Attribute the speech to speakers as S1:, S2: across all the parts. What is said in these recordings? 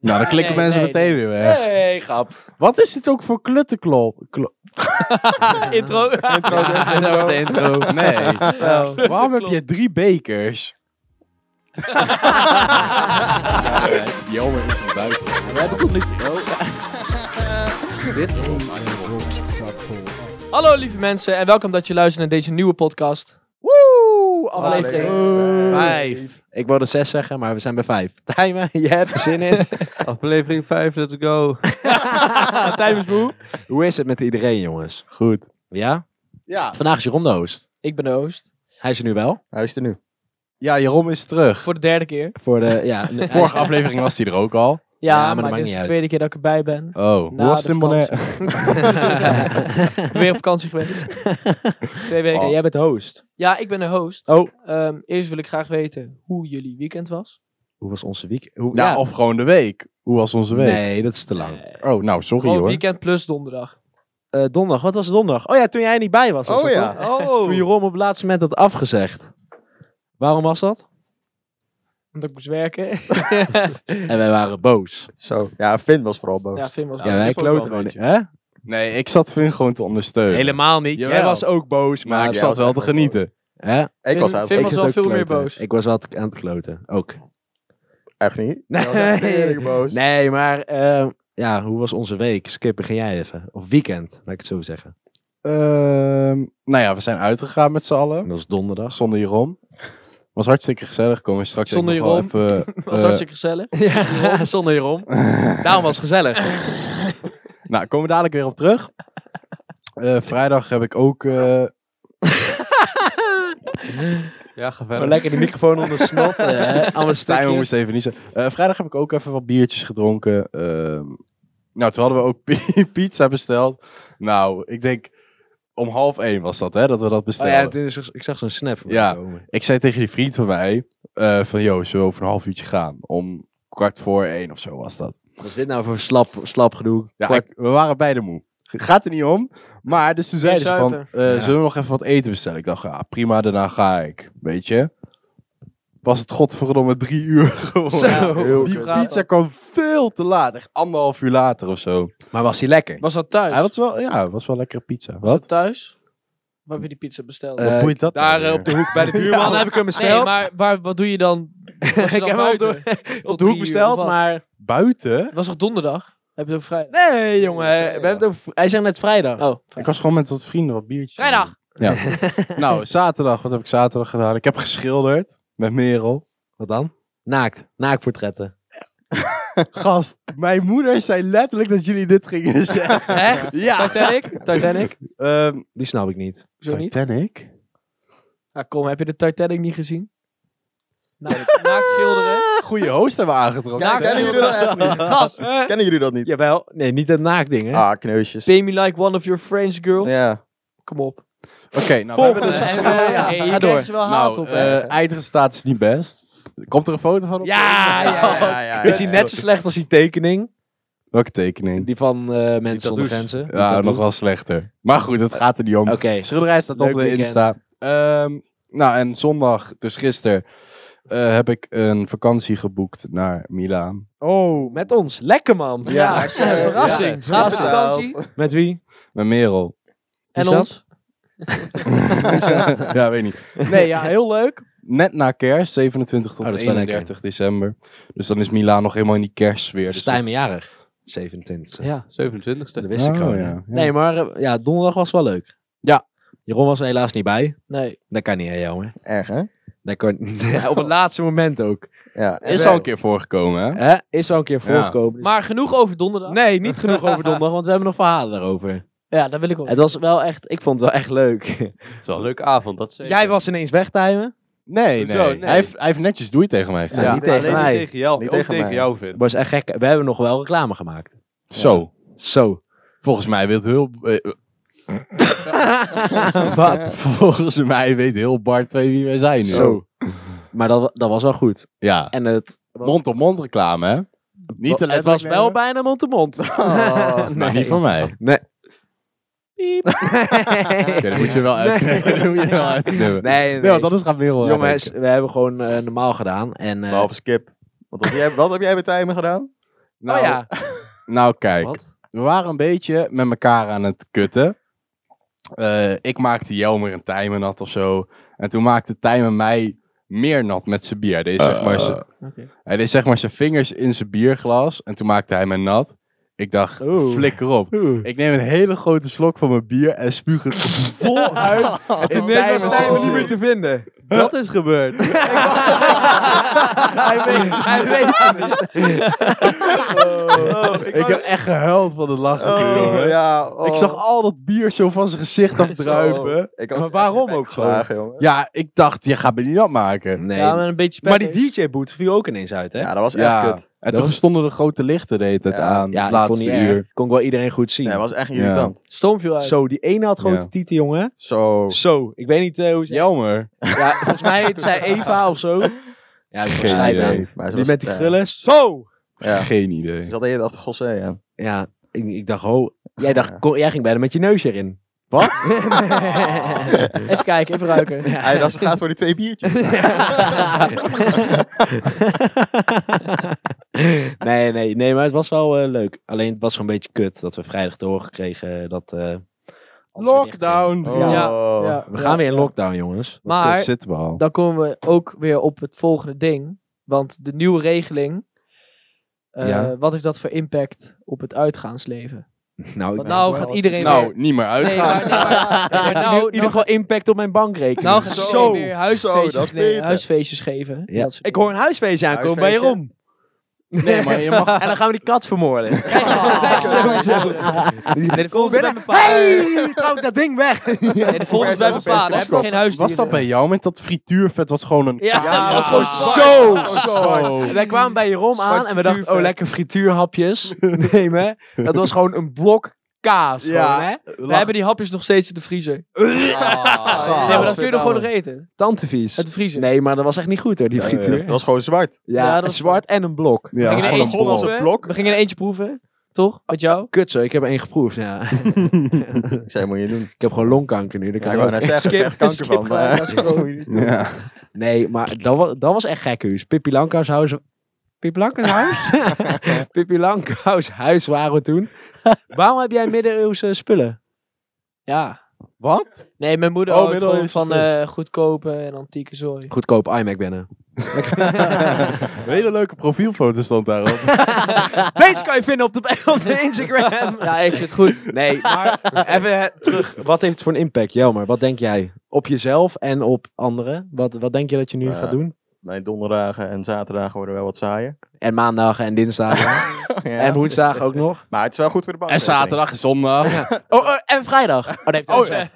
S1: Nou, dan klikken
S2: Nee,
S1: mensen
S2: nee,
S1: meteen
S2: nee.
S1: weer weg.
S3: Hey, grap.
S1: Wat is dit ook voor kluttenklop? Klo-
S2: Intro.
S1: intro,
S2: Ja,
S1: dit is
S2: dat
S1: intro.
S2: wordt de intro.
S1: Nee.
S2: Ja.
S1: Waarom heb je drie bekers? Jammer in de buik.
S2: We hebben tot nu
S3: Oh.
S2: toe. Hallo lieve mensen en welkom dat je luistert naar deze nieuwe podcast.
S3: Woe!
S2: Aflevering
S3: Vijf. Ik wilde zes zeggen, maar we zijn bij vijf. Tijmen, je hebt er zin in.
S4: Aflevering 5, let's go.
S2: Tijdens Boe.
S3: Hoe is het met iedereen, jongens?
S1: Goed.
S3: Ja?
S1: Ja.
S3: Vandaag is Jeroen de host.
S2: Ik ben de host.
S3: Hij is er nu wel.
S4: Hij is er nu.
S1: Ja, Jeroen is terug.
S2: Voor de derde keer.
S3: Voor de, ja, hij is-
S1: Vorige aflevering was hij er ook al.
S2: Ja,
S3: Ja, maar dat
S2: maar,
S3: maakt
S2: dit
S3: niet
S2: is de
S3: uit.
S2: tweede keer dat ik erbij ben.
S1: Oh,
S3: Nou,
S2: Na
S1: was
S2: de
S1: het in Bonaire?
S2: Weer op vakantie geweest. Twee weken.
S1: Oh.
S3: Hey, jij bent de host.
S2: Ja, ik ben de host.
S3: Oh.
S2: Ehm, eerst wil ik graag weten hoe jullie weekend was.
S3: Hoe was onze week? Hoe,
S1: Nou,
S3: ja.
S1: of gewoon de week. Hoe was onze week?
S3: Nee, dat is te lang.
S2: Nee.
S1: Oh, nou, sorry
S2: Gewoon
S1: hoor.
S2: weekend plus donderdag.
S3: Eh, donderdag, wat was donderdag? Oh ja, toen jij niet bij was. was
S4: Oh
S3: dat
S4: ja.
S3: toch? Toen Jeroen op het laatste moment had afgezegd. Waarom was dat?
S2: Omdat ik moest werken.
S3: Oh. En wij waren boos.
S4: Zo. Ja, Finn was vooral boos.
S2: ja, Finn was
S3: Ja, wij
S4: ik ook wel
S3: kloten
S4: een
S3: gewoon.
S4: beetje.
S3: Hè?
S1: Nee, ik zat Vin gewoon te ondersteunen.
S3: Helemaal niet. Jij
S1: Jawel.
S3: was ook boos, maar...
S1: maar ik
S4: jij
S1: zat
S4: was
S1: wel
S4: echt
S1: te
S4: wel
S1: genieten.
S3: Hè?
S4: Ik was
S2: Finn-
S4: uit.
S2: Finn-
S4: Ik,
S2: was
S3: zat
S2: wel
S3: ook
S2: veel meer
S3: kloten.
S2: boos.
S3: Ik was wel te- aan het kloten, ook.
S4: echt niet.
S3: Nee.
S4: Hij was echt tering boos.
S3: Nee, maar eh, ja, hoe was onze week? Skip, begin jij even. Of weekend, laat ik het zo zeggen.
S1: Ehm, nou ja, we zijn uitgegaan met z'n allen.
S3: En dat is donderdag.
S1: Zonder Jeroen. Was hartstikke gezellig. Komen we straks
S2: Zonder
S1: ook nog wel even...
S2: was
S1: eh,
S2: hartstikke gezellig.
S3: Ja, zonder Jeroen. Daarom was het gezellig.
S1: nou, komen we dadelijk weer op terug. Eh, vrijdag heb ik ook... eh,
S4: Ja, ga
S3: Maar lekker die microfoon onder snot. eh, hè?
S1: Tijmen
S3: Allemaal stukjes.
S1: moest even niet zeggen. Eh, vrijdag heb ik ook even wat biertjes gedronken. Ehm, nou, toen hadden we ook pi- pizza besteld. Nou, ik denk om half één was dat, hè, dat we dat
S3: Oh
S1: bestelden.
S3: ja, dit is- ik zag zo'n snap. voorbij
S1: Ja.
S3: komen.
S1: Ik zei tegen die vriend van mij, eh, van joh, zullen we over een half uurtje gaan? Om kwart voor één of zo was dat.
S3: Wat is dit nou voor slap, slap gedoe?
S1: Ja,
S3: Kwart-
S1: ik- we waren beide moe. Gaat er niet om. Maar dus toen zeiden ze van,
S2: zuipen.
S1: eh,
S3: Ja.
S1: zullen we nog even wat eten bestellen? Ik dacht, ja, prima, daarna ga ik. Weet je? Was het godverdomme drie uur geworden.
S3: Zo.
S4: Heel
S1: Die
S4: kut.
S2: praat
S1: pizza
S2: dan.
S1: kwam veel te laat. Echt anderhalf uur later of zo.
S3: Maar was hij lekker?
S2: Was dat thuis?
S1: Hij was wel, ja, was wel lekkere pizza.
S2: Was dat
S1: Wat?
S2: thuis? Waar heb je die pizza besteld?
S3: Eh,
S1: Wat boeit dat?
S3: Daar
S1: nou weer?
S3: eh, op de hoek bij de buurman heb ik hem besteld.
S2: nee, maar, maar wat doe je dan? Was je
S3: ik
S2: dan
S3: heb hem op
S2: buiten?
S3: de,
S2: Tot
S3: op de
S2: drie
S3: hoek
S2: uur,
S3: besteld,
S2: of wat?
S3: maar...
S1: Buiten?
S2: Het was toch donderdag? Heb je het ook vrijdag?
S3: Nee, jongen. We hebben het over- hij zei net vrijdag.
S2: Oh,
S1: Ik
S2: vrijdag.
S1: was gewoon met wat vrienden wat biertjes.
S2: Vrijdag.
S1: Ja. nou, zaterdag. Wat heb ik zaterdag gedaan? Ik heb geschilderd met Merel.
S3: Wat dan? Naakt. Naaktportretten.
S1: Gast, mijn moeder zei letterlijk dat jullie dit gingen zeggen.
S2: Echt?
S1: Ja.
S2: Titanic? Titanic?
S1: Ehm
S3: Die snap ik niet.
S2: Zo niet?
S1: Titanic?
S2: Ja, kom, heb je de Titanic niet gezien? Nou, naakt schilderen.
S1: Goeie host hebben we aangetrokken.
S4: Ja, kennen jullie dat echt niet?
S2: Gast,
S4: Kennen jullie dat niet?
S3: Jawel. Nee, niet het naakding, hè?
S4: Ah, kneusjes.
S2: pay me like one of your friends, girl.
S4: Ja.
S2: Kom op.
S1: Oké, nou, we hebben dus
S2: Eh,
S1: geschilderd.
S2: eh, hey,
S3: Ga
S2: je
S3: door.
S2: kijkt ze wel haat
S1: Nou,
S2: op.
S1: eh,
S2: hè.
S1: eindresultaat is niet best. Komt er een foto van op?
S3: Ja, ja, ja,
S2: Oh,
S4: ja, ja.
S3: Is hij net zo slecht als die tekening?
S1: Welke tekening?
S3: Die van eh, Mensen zonder
S4: tattoos.
S3: Grenzen. Die
S1: Ja,
S3: tattoo.
S1: nog wel slechter. Maar goed, het gaat er niet om.
S3: Oké.
S1: Schilderij staat
S3: Leuk
S1: op de
S3: weekend.
S1: Insta. Ehm, nou, en zondag, dus gisteren, eh, heb ik een vakantie geboekt naar Milaan.
S3: Oh, met ons. Lekker, man.
S4: Ja,
S3: eh, verrassing.
S2: Gaat op
S3: Gaat
S4: Verrassing.
S2: vakantie.
S3: Met wie?
S1: Met Merel.
S2: En
S3: Is dat?
S2: ons.
S1: ja, weet niet. Nee, ja, heel leuk. Net na kerst, 27 tot
S3: Oh, dat is wel
S1: 31 december. Dus dan is Milaan nog helemaal in die kerstsfeer. Dus
S3: Stijn jarig. 27.
S2: Ja.
S4: 27ste.
S3: Dat wist ik
S1: Oh,
S3: gewoon.
S1: ja,
S3: hè.
S1: ja.
S3: Nee, maar eh, ja, donderdag was wel leuk.
S1: Ja.
S3: Jeroen was er helaas niet bij.
S2: Nee.
S3: Dat kan niet, hè, jongen.
S4: Erg, hè?
S3: Dat kan... op het laatste moment ook.
S4: Ja.
S1: Is al een keer voorgekomen, hè?
S3: Hè? Is al een keer
S1: Ja.
S3: voorgekomen. dus-
S2: Maar genoeg over donderdag.
S3: Nee, niet genoeg over donderdag, want we hebben nog verhalen daarover.
S2: Ja, daar wil ik op.
S3: Het was wel echt, ik vond het wel echt leuk.
S5: Het is wel een leuke avond, dat zeker.
S3: Jij was ineens weg, Tijmen.
S1: Nee, nee.
S5: Hoezo? Nee.
S1: Hij, heeft, hij heeft netjes doei tegen mij gedaan.
S3: Ja, niet tegen
S5: Alleen
S3: mij.
S5: Niet tegen jou,
S4: Niet
S5: niet
S4: tegen
S5: tegen,
S4: mij.
S5: jou, Vin.
S3: Het was echt gek. We hebben nog wel reclame gemaakt.
S1: Zo.
S3: Zo.
S1: Volgens mij weet heel... eh,
S3: Wat?
S1: volgens mij weet heel Bart 2 wie wij zijn nu.
S3: Zo. Maar dat, wa- dat was wel goed.
S1: Ja.
S3: En het,
S1: Mond-op-mond reclame, hè? Niet te
S3: het
S1: letterlijk
S3: was wel
S1: nemen.
S3: bijna mond-to-mond.
S4: Oh.
S1: Maar niet van mij. Oké,
S3: Nee.
S2: Piep.
S1: dat moet je wel uitknippen. Dat moet je wel uitknippen. Nee,
S3: Nee, nee.
S1: want anders gaat Merel...
S3: Jongens, we hebben gewoon eh, normaal gedaan. En, eh,
S4: Behalve Skip. Want wat, heb jij, wat heb jij bij Tijmen gedaan?
S1: Nou,
S3: Oh ja.
S1: nou kijk,
S5: Wat?
S1: we waren een beetje met elkaar aan het kutten. Eh, ik maakte Jelmer en Tijmen nat of zo. En toen maakte Tijmen mij meer nat met zijn bier. Hij deed, zeg
S3: Eh.
S1: maar zijn-
S2: Oké.
S1: hij deed zeg maar zijn vingers in zijn bierglas. En toen maakte hij mij nat. Ik dacht,
S2: Oeh.
S1: flikker op. Ik neem een hele grote slok van mijn bier en spuug het vol uit. in
S4: Net
S1: Tijmen's
S4: was Tijmen niet
S1: gezicht.
S4: meer te vinden.
S5: Dat is gebeurd.
S4: hij weet, hij weet het niet. Oh,
S1: Ik heb echt gehuild van de lach.
S4: oh,
S1: jongen.
S4: ja, oh.
S1: Ik zag al dat bier zo van zijn gezicht afdruipen.
S4: Zo. Ik had
S3: Maar waarom ook zo?
S4: vragen, jongen.
S1: Ja, ik dacht, je gaat me niet nat maken.
S3: Nee.
S2: Ja,
S3: maar,
S2: maar een beetje
S3: die
S2: spetters.
S3: DJ-boot viel ook ineens uit, hè?
S4: Ja, dat was echt
S1: Ja.
S4: kut.
S1: En
S3: Dat
S1: toen
S3: was-
S1: stonden de grote lichten de hele tijd aan.
S3: ja
S1: het
S3: ik kon
S1: laatste
S3: niet
S1: uur.
S3: erg. Kon ik wel iedereen goed zien.
S4: Nee, dat was echt
S1: Ja.
S4: irritant.
S2: Storm viel uit.
S3: Zo, die ene had grote
S1: Ja.
S3: tieten, jongen.
S4: Zo.
S3: Zo, ik weet niet eh, hoe ze...
S1: Jelmer.
S3: Oh. Ja, volgens mij heette zij Eva of zo. Ja, ik
S1: Geen
S3: geen
S1: idee.
S3: idee.
S4: Maar ze
S3: Die
S4: was-
S3: met die
S4: ja.
S3: grillen. Zo!
S4: Ja.
S1: Geen
S4: Ze
S1: idee.
S4: zat de hele dag te gossé aan.
S3: Ja, ik, ik dacht, ho... Jij, dacht, kon- jij ging bijna met je neus erin.
S1: Wat?
S2: Even kijken, even
S3: Oh,
S2: ruiken.
S4: Hij dacht, ze gaat voor die twee biertjes.
S3: nee, nee, nee, maar het was wel eh, leuk. Alleen het was gewoon een beetje kut dat we vrijdag te horen kregen dat... eh, alles weer
S1: Lockdown.
S4: Oh.
S2: Ja, Ja,
S3: dicht ging. We
S2: ja.
S3: gaan weer in lockdown, jongens.
S1: Wat
S2: Maar
S1: zitten we al.
S2: dan komen we ook weer op het volgende ding. Want de nieuwe regeling. eh,
S3: Ja.
S2: Wat heeft dat voor impact op het uitgaansleven?
S3: Nou,
S2: Want
S3: ik ben
S2: nou
S3: wel-
S2: gaat iedereen
S1: nou,
S2: weer...
S1: niet meer
S2: Nee,
S1: uitgaan.
S2: maar, nee, maar- nee, maar
S3: In
S2: nou,
S3: ieder
S2: nou,
S3: geval impact op mijn bankrekening.
S2: nou gaat iedereen
S4: Zo,
S2: weer
S4: zo, dat
S2: huisfeestjes,
S4: is
S2: nee,
S4: beter.
S2: huisfeestjes geven.
S3: Ja.
S2: Dat soort
S3: Ik
S2: dingen.
S3: hoor een huisfeest aankomen bij
S4: Huisfeestje?
S3: Jeroen.
S1: Nee, maar je mag...
S3: En dan gaan we die kat vermoorden.
S2: Kijk, sowieso. Nee, de volgende bij mijn pa.
S3: Hey, trouw dat ding weg.
S2: Nee, de volgende bij mijn
S4: Was
S2: pa.
S4: dat-
S2: Daar heb je geen huisdieren.
S1: Was dat bij jou met dat frituurvet? was gewoon een...
S2: Ja,
S4: Ja,
S2: dat
S4: dat
S2: was
S4: is
S2: gewoon
S4: gewoon zwart.
S3: zo
S4: Dat is gewoon
S1: zwart.
S4: zwart.
S3: En wij kwamen bij Jeroen
S2: Zwart
S3: aan en we dachten,
S2: frituurvet.
S3: oh lekker frituurhapjes nemen. Dat was gewoon een blok kaas.
S1: Ja.
S3: Gewoon, hè?
S2: We hebben die hapjes nog steeds in de vriezer.
S4: Ah,
S2: nee, maar dat kun je nog gewoon nog eten.
S3: Tantevies.
S2: Uit de vriezer.
S3: Nee, maar dat was echt niet goed hoor, die
S1: Nee.
S3: frituur.
S4: Dat was gewoon zwart.
S3: Ja,
S2: Ja, dat was-
S3: zwart en een blok.
S1: Ja,
S2: We
S1: dat is
S2: gingen
S1: gewoon
S2: er
S1: een
S2: eentje
S4: bol als
S1: borrel.
S4: een
S2: proeven.
S4: blok.
S2: We gingen er eentje proeven. Toch? Met jou?
S3: Kut zo, ik heb er één geproefd. Ja.
S4: Ik zei, moet je doen.
S3: ik heb gewoon longkanker nu. Dat
S4: Ja,
S3: kan
S4: ik
S3: ik
S4: wou
S3: ook-
S4: net zeggen, ik heb echt kanker
S2: skip
S4: van.
S2: gewoon,
S4: maar-
S2: dat is gewoon-
S1: Ja.
S3: Nee, maar dat was, dat was echt gek huis. Pippi Lankhuis huis... Pippi Lankhuis huis? Pippi Lankhuis huis waren we toen. Waarom heb jij middeleeuwse spullen?
S2: Ja.
S1: Wat?
S2: Nee, mijn moeder
S1: Oh,
S2: houdt
S1: middel
S2: gewoon
S1: is
S2: van
S1: het
S2: eh, goedkope en antieke zooi.
S3: Goedkoop iMac binnen.
S1: Een hele leuke profielfoto stond daarop.
S3: Deze kan je vinden op de, op de Instagram.
S2: Ja, ik vind het goed.
S3: Nee, maar even eh, terug. Wat heeft het voor een impact, Jelmer? Wat denk jij? Op jezelf en op anderen? Wat, wat denk je dat je nu
S4: Ja.
S3: gaat doen?
S4: Mijn donderdagen en zaterdagen worden wel wat saaier.
S3: En maandagen en dinsdagen. En woensdagen ook nog.
S4: Maar het is wel goed voor de bank.
S1: En zaterdag en zondag.
S3: Oh, eh, en vrijdag. Oh, nee, heeft hij
S1: Oh,
S3: zelf.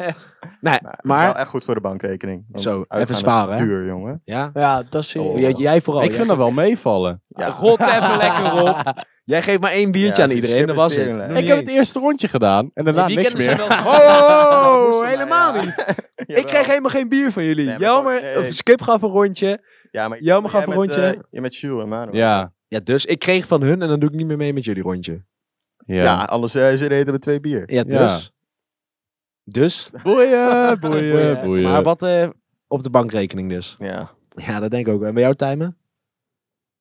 S3: Nee,
S4: eh. Maar, het is
S3: maar...
S4: wel echt goed voor de bankrekening. Want
S3: Zo, even
S4: uitgaan is
S3: sparen, hè?
S4: duur, jongen.
S3: Ja,
S2: Ja, dat is
S4: Oh.
S2: serieus.
S3: jij, jij vooral.
S1: Ik
S3: jij
S1: vind dat wel meevallen.
S4: Ja.
S3: Rot even lekker op. Jij geeft maar één biertje
S4: Ja,
S3: aan
S4: ze
S3: iedereen, dat
S4: skippen
S3: was het.
S4: stering, hè.
S3: Nog
S1: Ik
S3: niet
S1: heb het
S3: eens.
S1: eerste rondje gedaan en daarna
S2: Die
S1: niks
S2: weekenden
S1: meer.
S2: zijn wel-
S4: Nou, moesten
S3: Oh,
S4: wij,
S3: helemaal
S4: ja.
S3: niet.
S4: Jawel.
S3: Ik kreeg helemaal geen bier van jullie.
S4: Nee, maar
S3: Jelmer,
S4: dat- nee.
S3: of Skip gaf een rondje.
S4: Ja, maar
S3: Jelmer
S4: jij
S3: gaf een
S4: met,
S3: rondje.
S4: eh, je met Jules en Manu.
S1: Ja.
S3: Ja, dus ik kreeg van hun en dan doe ik niet meer mee met jullie rondje.
S1: Ja.
S4: Ja, anders eh, ze eten met twee bier.
S3: Ja, dus. Dus.
S1: Boeien, boeien, boeien.
S3: Maar wat eh, op de bankrekening dus.
S4: Ja.
S3: Ja, dat denk ik ook. En bij jou timen?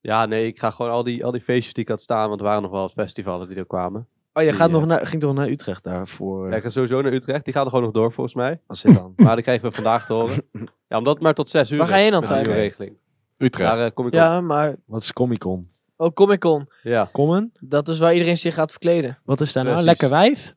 S5: Ja, nee, ik ga gewoon al die, al die feestjes die ik had staan, want er waren nog wel wat festivals die er kwamen.
S3: Oh, je
S5: Die,
S3: gaat
S5: eh,
S3: nog naar, ging toch naar Utrecht daarvoor?
S5: Ja, Ik ga sowieso naar Utrecht, die gaat er gewoon nog door volgens mij.
S3: Als dit dan.
S5: Maar dat krijgen we vandaag te horen. Ja, omdat het maar tot zes uur
S2: Waar ga je
S5: is
S2: dan,
S5: met die
S2: Tijmen?
S5: nieuwe regeling.
S1: Utrecht.
S5: Daar eh, kom ik op.
S2: Ja, maar
S3: Wat is Comic Con?
S2: ook Comic Con.
S5: Ja.
S3: Common?
S2: Dat is waar iedereen zich gaat verkleden.
S3: Wat is daar nou?
S5: Precies.
S3: Lekker wijf?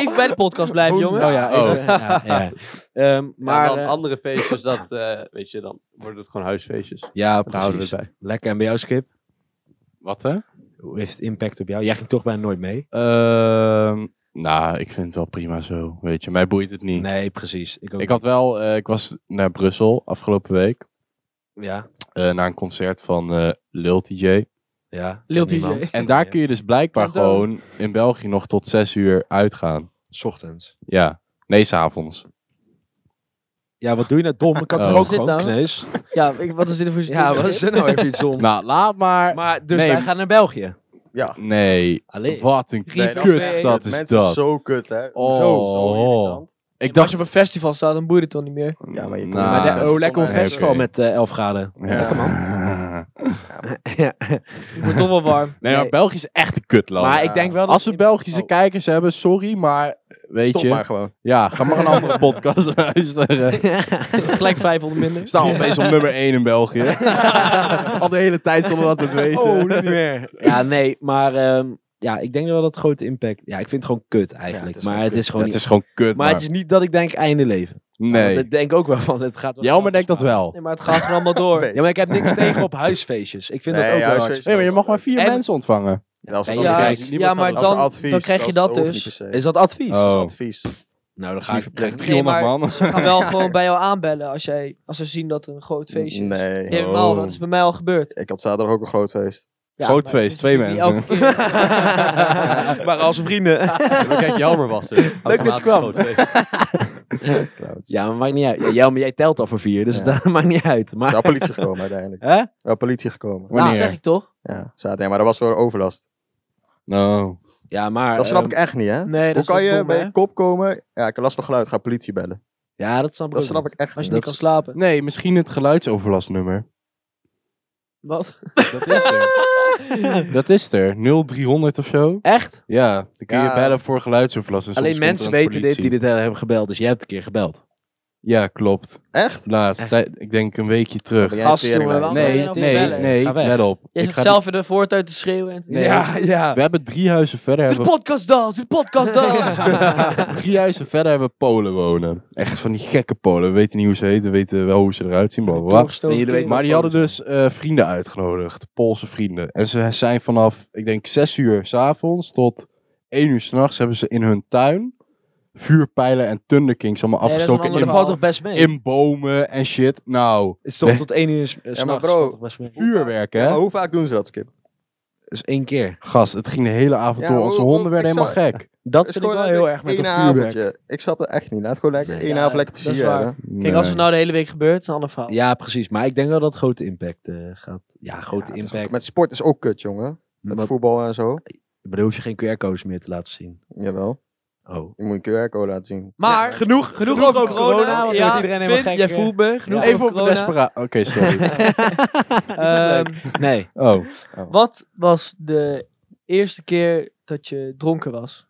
S2: Even bij de podcast blijven, jongens.
S3: Oh ja,
S1: Oh.
S3: even- ja, ja. Ehm,
S5: Maar
S3: maar
S5: dan
S3: eh,
S5: andere feestjes, dat, eh, weet je, dan worden het gewoon huisfeestjes. Daar
S3: ja,
S5: houden we
S3: precies.
S5: het bij.
S3: Lekker. En bij jou, Skip?
S1: Wat hè?
S3: Hoe heeft het impact op jou? Jij ging toch bijna nooit mee?
S1: Ehm, nou, ik vind het wel prima zo. Weet je, mij boeit het niet.
S3: Nee, precies. Ik ook.
S1: Ik had wel, eh, ik was naar Brussel afgelopen week
S3: Ja.
S1: eh, naar een concert van eh Lil TJ.
S3: ja
S2: Lil
S3: Ken
S2: TJ.
S3: niemand.
S1: En daar kun je dus blijkbaar
S2: Klinkt ook.
S1: gewoon in België nog tot zes uur uitgaan.
S3: S ochtends.
S1: Ja, nee, s'avonds.
S3: Ja, wat doe je nou dom? Ik had
S1: Oh.
S3: er
S1: Wat
S3: ook
S2: is dit
S3: gewoon
S2: nou?
S3: kneus.
S2: Ja, ik- wat is dit voor
S3: Ja, wat is er nou even iets dom?
S1: Nou, laat maar.
S3: Maar dus
S1: Nee.
S3: wij gaan naar België.
S1: Nee,
S3: Allee.
S1: wat een
S2: Nee, dat is
S1: kutstad is
S4: Mensen
S1: dat.
S4: zo kut, hè.
S1: Oh.
S4: Zo, zo irritant.
S1: Ik
S2: Als je
S1: dacht...
S2: op een festival staat, dan boeit het toch niet meer.
S4: Ja, maar je komt
S1: Nou,
S4: niet
S3: maar
S4: bij
S3: de-
S4: de
S3: oh, lekker op
S1: Nee,
S3: festival
S1: oké.
S3: met eh 11 graden.
S1: ja.
S3: Ja.
S2: Het wordt toch wel warm.
S1: Nee, maar
S3: Nee.
S1: België is echt een kutland.
S3: Maar ik denk wel dat...
S1: Als we Belgische kijkers hebben, sorry, maar weet
S4: Stop
S1: je...
S4: maar gewoon.
S1: Ja, ga maar een andere podcast luisteren.
S2: Gelijk 500
S1: We
S2: minder.
S1: staan opeens op nummer 1 in België. Al de hele tijd zonder dat we het weten.
S3: Oh, niet meer. Ja, nee, maar ehm, ja, ik denk wel dat het grote impact... Ja, ik vind het gewoon kut eigenlijk.
S4: is
S3: maar
S4: gewoon
S3: het is
S1: Ja,
S3: gewoon
S1: het
S3: niet...
S1: is gewoon kut,
S3: Maar
S1: maar...
S3: het is niet dat ik denk einde leven. Want
S1: Nee.
S3: ik denk ook wel van, het gaat wel...
S1: Jelmer denkt dat wel.
S2: Nee, maar het gaat gewoon allemaal door.
S4: Nee.
S3: Ja, maar ik heb niks tegen op huisfeestjes. Ik vind dat ook wel hard.
S1: Nee, maar je mag maar vier
S3: En-
S1: mensen ontvangen.
S4: Dat is
S3: Ja,
S4: een
S2: Ja,
S4: advies.
S5: Niemand
S2: ja,
S5: gaat
S2: maar
S5: dat-
S4: Dat is een
S2: dan,
S4: advies.
S2: dan krijg je dat
S4: hoeft niet per
S2: dus.
S4: se.
S3: Is dat advies?
S4: Dat
S1: Oh.
S4: is advies.
S3: Nou, dan ga
S4: Advies
S3: ik...
S4: verplicht.
S2: Nee,
S1: 300
S2: maar
S1: man.
S2: ze gaan wel gewoon bij jou aanbellen als, jij, als ze zien dat er een groot feestje is.
S4: Nee.
S2: Helemaal,
S1: Oh.
S2: dat is bij mij al gebeurd.
S4: Ik had zaterdag ook een groot feest.
S2: Ja,
S1: Groot
S2: maar
S1: feest,
S2: het is
S1: twee
S2: natuurlijk niet
S1: mensen.
S2: elke keer.
S3: maar als vrienden.
S5: Maar kijk, jammer was het.
S3: dat je
S5: Automatisch
S3: kwam.
S5: groot feest.
S3: Ja, maar maakt niet uit. Ja, jou, maar jij telt al voor vier, dus
S4: Ja.
S3: dat maakt niet uit. Maar...
S4: Wel politie gekomen uiteindelijk.
S3: Hè?
S4: Wel politie gekomen.
S2: Nou,
S1: Wanneer?
S2: zeg ik toch?
S4: Ja, zaterdag. Ja, Maar dat was door overlast.
S1: Oh.
S3: Ja, maar...
S4: Dat snap
S3: ehm,
S4: ik echt niet, hè?
S2: Nee,
S4: Hoe
S2: dat
S4: kan
S2: is
S4: je
S2: dom,
S4: bij
S2: hè?
S4: je kop komen? Ja, ik heb last van geluid. Ga politie bellen.
S3: Ja, dat snap ik
S4: Dat
S3: ook
S4: snap
S3: niet.
S4: ik echt
S2: Als je niet
S4: niet.
S2: kan slapen.
S1: Nee, misschien het geluidsoverlastnummer.
S2: Wat?
S1: Dat is er. Dat is er. 0300 of zo.
S3: Echt?
S1: Ja, dan kun je
S4: Ja.
S1: bellen voor geluidsoverlast. en soms
S3: Alleen
S1: komt er
S3: mensen
S1: dan de
S3: weten dit die
S1: politie.
S3: dit hebben gebeld, dus jij hebt een keer gebeld.
S1: Ja, klopt.
S4: Echt?
S1: Laatst, tij- ik denk een weekje terug.
S4: Ben jij
S2: Gast,
S4: tering,
S2: jongen,
S4: man.
S2: waarom zou je
S1: Nee,
S2: nou
S1: nee,
S2: bellen?
S1: nee,
S3: Ga weg.
S1: let op.
S2: Jij
S1: Ik
S2: zit
S1: ga-
S2: zelf in de voortuin te schreeuwen. En
S1: Nee.
S3: ja.
S1: We hebben drie huizen verder.
S2: Doe de
S1: Hebben we
S2: podcast dans, doe de podcast dans.
S1: Drie huizen verder hebben we Polen wonen. Echt van die gekke Polen. We weten niet hoe ze heten, we weten wel hoe ze eruit zien. Bla, bla, bla.
S2: Doorgestoken
S3: jullie weten
S2: kerel.
S1: Maar die hadden dus eh, vrienden uitgenodigd, Poolse vrienden. En ze zijn vanaf, ik denk, zes uur s'avonds tot één uur s'nachts hebben ze in hun tuin vuurpijlen en Thunderkings allemaal
S2: Nee, dat is een
S1: afgestoken
S3: Maar
S1: in,
S3: dat
S2: ander
S3: valt toch best mee?
S1: in bomen en shit. Nou,
S3: Het stond tot één uur s- eh, s'nachts.
S4: maar bro,
S3: valt toch best mee?
S1: vuurwerk hè.
S4: Maar
S2: oh.
S4: hoe vaak doen ze dat, Skip?
S3: Dus één keer.
S1: Gast, het ging de hele avond
S4: Ja,
S1: door.
S2: oh,
S4: hoe-
S1: Onze
S4: hoe-
S1: honden werden
S4: ik
S1: helemaal gek.
S3: Dat
S4: Het
S3: vind ik wel heel erg met
S4: één
S3: dat vuurwerk.
S4: avondje. Ik snap dat echt niet. Laat gewoon lekker één
S2: Ja,
S4: avond lekker
S2: dat
S4: plezier
S2: is waar.
S4: hebben.
S2: Kijk, als het nou de hele week gebeurt, is een ander verhaal.
S3: Ja, precies. Maar ik denk wel dat het grote impact eh, gaat. Ja, grote
S4: Ja, het is ook-
S3: impact.
S4: Met sport is ook kut, jongen. Met
S3: Maar,
S4: voetbal en zo.
S3: maar dan hoef je geen QR-codes meer te laten zien.
S4: Jawel.
S3: Oh.
S4: Je moet een QR-code laten zien.
S2: Maar,
S3: Genoeg,
S2: genoeg over corona.
S3: want
S2: ja,
S3: dan wordt iedereen helemaal
S2: Vin,
S3: gek. eh.
S2: jij voelt me. Genoeg
S3: Ja.
S1: Even op de
S2: corona.
S1: desperaat. Oké, sorry.
S2: Ehm,
S3: Nee.
S1: Oh.
S2: wat was de eerste keer dat je dronken was?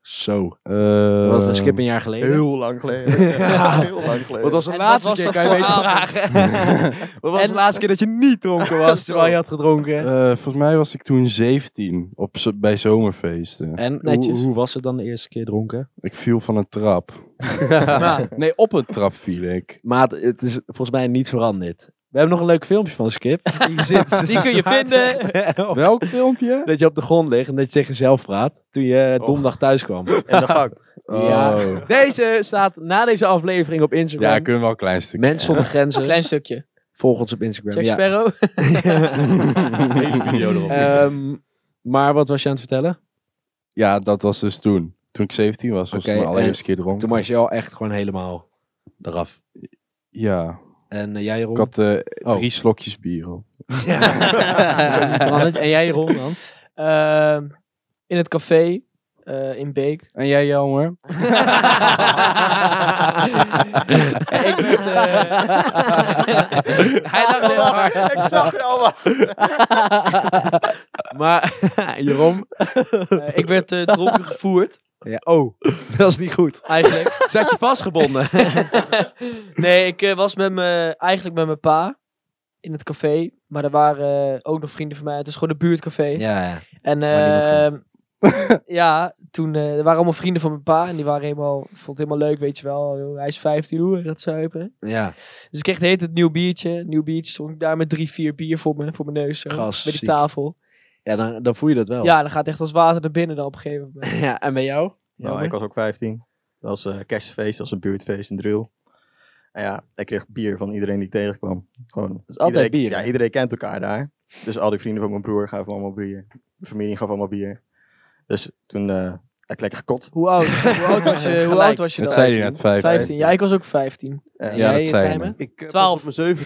S3: Zo.
S1: eh,
S3: Wat, een skip een jaar geleden.
S4: Heel lang geleden.
S3: Ja.
S4: Heel lang geleden.
S3: Wat was de
S2: En
S3: laatste
S2: wat was
S3: keer?
S2: dat
S3: Kan je
S2: voor
S3: beter
S2: avond?
S3: vragen. Wat was
S2: En-
S3: de laatste keer dat je niet dronken was terwijl je had gedronken?
S1: Eh, volgens mij was ik toen 17 op, zo- bij zomerfeesten.
S3: En hoe,
S2: Netjes.
S3: hoe was het dan de eerste keer dronken?
S1: Ik viel van een trap.
S2: Nou,
S1: Nee, op een trap viel ik.
S3: Maar het is volgens mij niet veranderd. We hebben nog een leuk filmpje van Skip. Die,
S2: Die kun je vinden.
S1: Welk filmpje?
S3: dat je op de grond ligt en dat je tegen jezelf praat. Toen je
S1: Och.
S3: donderdag thuis kwam.
S4: In de gang.
S3: Ja.
S1: Oh.
S3: Deze staat na deze aflevering op
S1: Ja,
S3: Instagram.
S1: ik kun wel een klein stukje.
S3: Mensen zonder grenzen.
S2: Klein stukje.
S3: Volg ons op
S2: Jack
S3: Instagram. Ja.
S2: Sparrow.
S5: Hele video erop.
S3: Ehm, maar wat was je aan het vertellen?
S1: Ja, dat was dus toen. Toen ik 17 was, was
S3: Oké,
S1: ik mijn allereerste keer dronken.
S3: Toen was je al echt gewoon helemaal eraf.
S1: Ja,
S3: En eh, jij Jeroen?
S1: ik had eh,
S3: Oh.
S1: drie slokjes bier op.
S3: Zo niet veranderd. En jij Jeroen dan?
S2: Ehm, in het café eh, in Beek.
S1: En jij, Jelmer?
S2: ik werd, eh,
S3: Hij dacht heel hard.
S4: Ik zag je allemaal.
S3: Maar Jeroen,
S2: eh, ik werd eh, dronken gevoerd,
S3: ja, oh, dat is niet goed.
S2: eigenlijk.
S3: Zat je vastgebonden?
S2: nee, ik eh, was met me, eigenlijk met mijn pa in het café. Maar er waren eh, ook nog vrienden van mij. Het is gewoon een buurtcafé.
S3: Ja, ja.
S2: En
S3: Maar
S2: ehm, ja, toen eh, er waren allemaal vrienden van mijn pa. En die waren helemaal, vond het helemaal leuk, weet je wel. Joh, Hij is 15, hoe hij gaat zuipen.
S3: ja.
S2: Dus ik kreeg de hele tijd een nieuw biertje. Nieuw biertje stond ik daar met drie, vier bier voor, me, voor mijn neus. Zo,
S3: Gast,
S2: bij die
S3: ziek. Oh.
S2: tafel.
S3: ja dan, dan voel je dat wel.
S2: Ja, dan gaat het echt als water naar binnen dan op een gegeven moment.
S3: Ja, en bij jou?
S4: Nou, ik was ook 15. Dat was eh kerstfeest, dat was een buurtfeest in Driel. En ja, ik kreeg bier van iedereen die ik tegenkwam. Gewoon,
S3: is altijd
S4: iedereen,
S3: bier,
S4: Ja,
S3: hè?
S4: iedereen kent elkaar daar. Dus al die vrienden van mijn broer gaven allemaal bier. Mijn familie gaf allemaal bier. Dus toen eh, heb ik lekker gekotst.
S2: Hoe oud? Hoe oud was je, hoe
S3: Gelijk.
S2: oud was je
S1: Dat
S2: dan?
S1: zei je net, 15.
S2: 15. Ja, ik was ook 15.
S4: Eh,
S1: Ja,
S3: Jij,
S1: dat zei je
S3: Tijmen?
S1: net.
S5: Ik eh,
S2: Twaalf.
S5: pas op mijn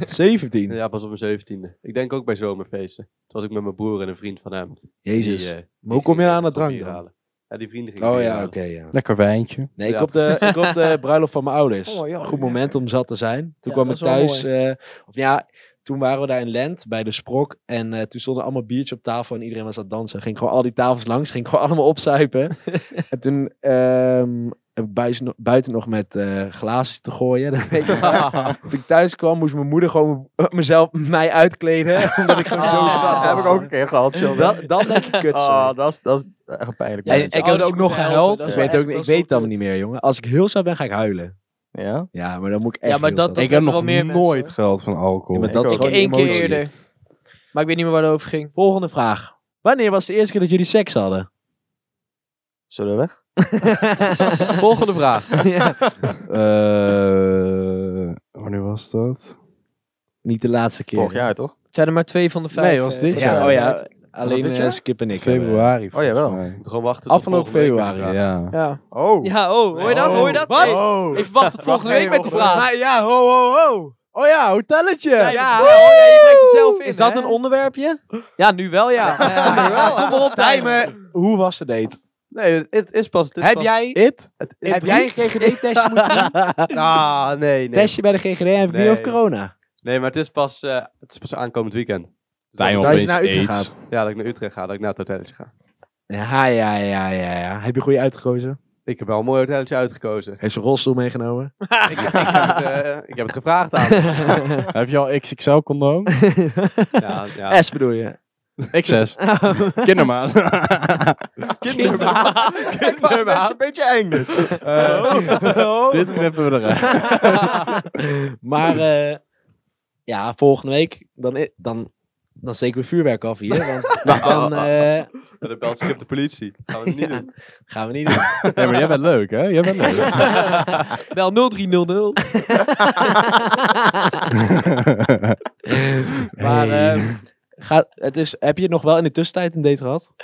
S5: 17e.
S3: 17.
S5: ja, pas op mijn zeventiende. Ik denk ook bij zomerfeesten. Toen was ik met mijn broer en een vriend van hem.
S3: Jezus.
S5: Die, eh,
S3: maar hoe kom je
S5: die
S3: aan het
S5: gingen
S3: drank
S5: bier
S3: dan?
S5: halen. Ja, die vrienden gingen
S1: Oh
S5: mee,
S1: ja,
S3: Oké, ja.
S1: Lekker wijntje.
S3: Nee, ik,
S5: Ja,
S3: op de, ik op de bruiloft van mijn ouders.
S2: Oh, ja,
S3: Goed moment om zat te zijn.
S2: Ja,
S3: Toen kwam ik
S2: dat is wel
S3: thuis. eh, of ja, toen waren we daar in Lent bij de Sprok. En eh, toen stonden allemaal biertjes op tafel en iedereen was aan het dansen. Ging gewoon al die tafels langs. Ging gewoon allemaal opzuipen. en toen ehm, heb ik buis- no- buiten nog met eh, glazen te gooien. Dat weet ik nog. toen ik thuis kwam, moest mijn moeder gewoon eh, mezelf, mij uitkleden. omdat ik gewoon zo
S2: Ah.
S3: zat.
S4: dat heb ik ook een keer gehad, chill.
S3: Dat, dat denk ik kut. sorry.
S4: Ah, dat is, dat is echt een pijnlijk
S2: Ja,
S3: en
S4: moment.
S2: dat
S3: ik
S2: je
S3: heb
S2: ouders
S3: ook nog
S2: moeten helpen,
S3: gehuild.
S2: dat
S3: Ik
S2: is
S3: weet,
S2: wel echt
S3: ook, niet- ik
S2: best wel
S3: weet het allemaal
S2: kut.
S3: niet meer, jongen. Als ik heel zou ben, ga ik huilen.
S4: Ja?
S3: Ja, maar dan moet ik echt.
S2: Ja, maar
S3: heel
S2: dat-
S3: zat
S2: dat-
S3: zijn.
S1: ik heb
S2: wel
S1: nog
S2: meer mensen,
S1: nooit
S2: hoor.
S1: gehad van alcohol.
S3: Ja, maar
S4: Ik
S3: dat is
S4: ook.
S3: gewoon
S2: Eén keer
S3: emotie.
S2: eerder. Maar ik weet niet meer waar het over ging.
S3: Volgende vraag. Wanneer was de eerste keer dat jullie seks hadden?
S4: Zullen we weg?
S5: Volgende vraag.
S1: Eh, wanneer was dat?
S3: Niet de laatste keer.
S4: Vorig jaar, toch?
S2: Het zijn er maar twee van de vijf.
S1: Nee, was
S2: eh,
S1: dit
S2: van
S1: jaar.
S2: de
S3: Ja, oh
S2: tijd.
S3: ja. Alleen
S4: dit
S3: eh,
S4: jaar?
S3: Skip en ik.
S1: Februari.
S4: Oh, jawel.
S1: volgens mij.
S5: Moet gewoon wachten. tot
S3: Afgelopen
S5: volgende week.
S3: februari.
S1: Ja.
S2: Ja.
S4: Oh!
S2: Ja, oh, hoor je dat? Hoor je dat?
S3: Wat?
S2: Hey, Even wachten tot volgende week met die
S3: Volgens
S2: vraag.
S3: mij, ja, ho, ho, ho.
S1: Oh ja, hotelletje!
S2: Ja,
S3: Ja.
S2: hoor je, je breekt het zelf in.
S3: Is dat
S2: hè?
S3: een onderwerpje?
S2: Ja, nu wel, ja. ja, nu wel. Kom maar op, timer.
S3: Tijmen, hoe was de date?
S5: Nee, het is pas... het is
S3: Heb
S5: pas-
S3: jij,
S1: It?
S3: heb jij een GGD-testje moeten doen?
S5: Ah, nee, nee.
S3: Testje bij de GGD en heb ik niet
S5: Nee.
S3: over corona.
S5: Nee, maar het is pas, eh, het is pas aankomend weekend.
S1: Tijmen
S3: Dat je
S1: opeens
S3: naar Utrecht
S1: aids.
S3: gaat.
S5: Ja, dat ik naar Utrecht ga, dat ik naar het hotelletje ga.
S3: Ja, ja, ja, ja, ja. Heb je goed uitgekozen?
S5: Ik heb wel een mooi hotelletje uitgekozen.
S3: Heeft ze rolstoel meegenomen?
S5: ik, heb, ik heb het, eh, ik heb het gevraagd aan. hem.
S1: Heb je al XXL-condoom?
S5: Ja, ja.
S3: S bedoel je?
S1: XS. Kindermaan.
S3: Kindermaat.
S4: Dat is een beetje eng dit.
S1: Dit knippen we eruit.
S3: maar eh, ja, volgende week dan, i- dan, dan steken we vuurwerk af hier. Want dan eh,
S5: Ja, Dan belt Skip de politie. Gaan we het niet doen.
S3: gaan we niet doen.
S1: Ja, maar jij bent leuk, hè? Jij bent leuk.
S2: Bel 0300.
S3: Maar eh, ga, het is, heb je nog wel in de tussentijd een date gehad?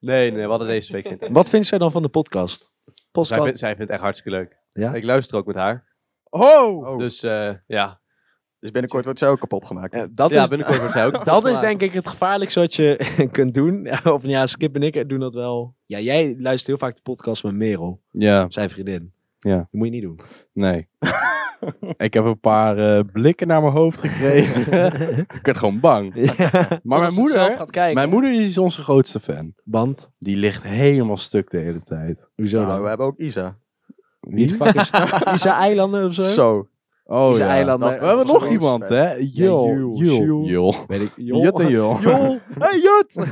S5: Nee, nee, we hadden deze week geen tijd.
S3: Wat vindt zij dan van de podcast?
S5: Zij,
S2: Postcode.
S5: vindt- zij vindt het echt hartstikke leuk.
S3: Ja?
S5: Ik luister ook met haar.
S4: Oh!
S5: Dus eh, ja.
S4: Dus binnenkort wordt ze ook kapot gemaakt.
S3: Eh, dat
S5: ja,
S3: is,
S5: binnenkort wordt zij ook.
S3: dat is denk ik het gevaarlijkste wat je kunt doen. of ja, Skip en ik doen dat wel. Ja, jij luistert heel vaak de podcast met Merel,
S1: ja,
S3: zijn vriendin.
S1: Ja.
S3: Dat moet je niet doen.
S1: nee. Ik heb een paar eh, blikken naar mijn hoofd gekregen. ik werd gewoon bang. Maar mijn
S2: Zelf
S1: moeder,
S2: gaat kijken.
S1: mijn moeder die is onze grootste fan.
S3: Want?
S1: Die ligt helemaal stuk de hele tijd.
S3: Hoezo
S4: Nou,
S3: dan?
S4: we hebben ook Isa.
S3: Wie de fuck is Isa Eilanden of zo?
S4: Zo.
S1: Oh
S3: Deze
S1: ja.
S3: eilanden.
S1: We hebben nog
S4: Grootste
S1: iemand,
S4: fan.
S1: hè? Jul.
S3: Jul,
S1: Jul.
S3: Jul.
S1: Jul.
S3: Weet ik. Jol.
S1: Jut en Jul.
S3: Jol. Hey Jut!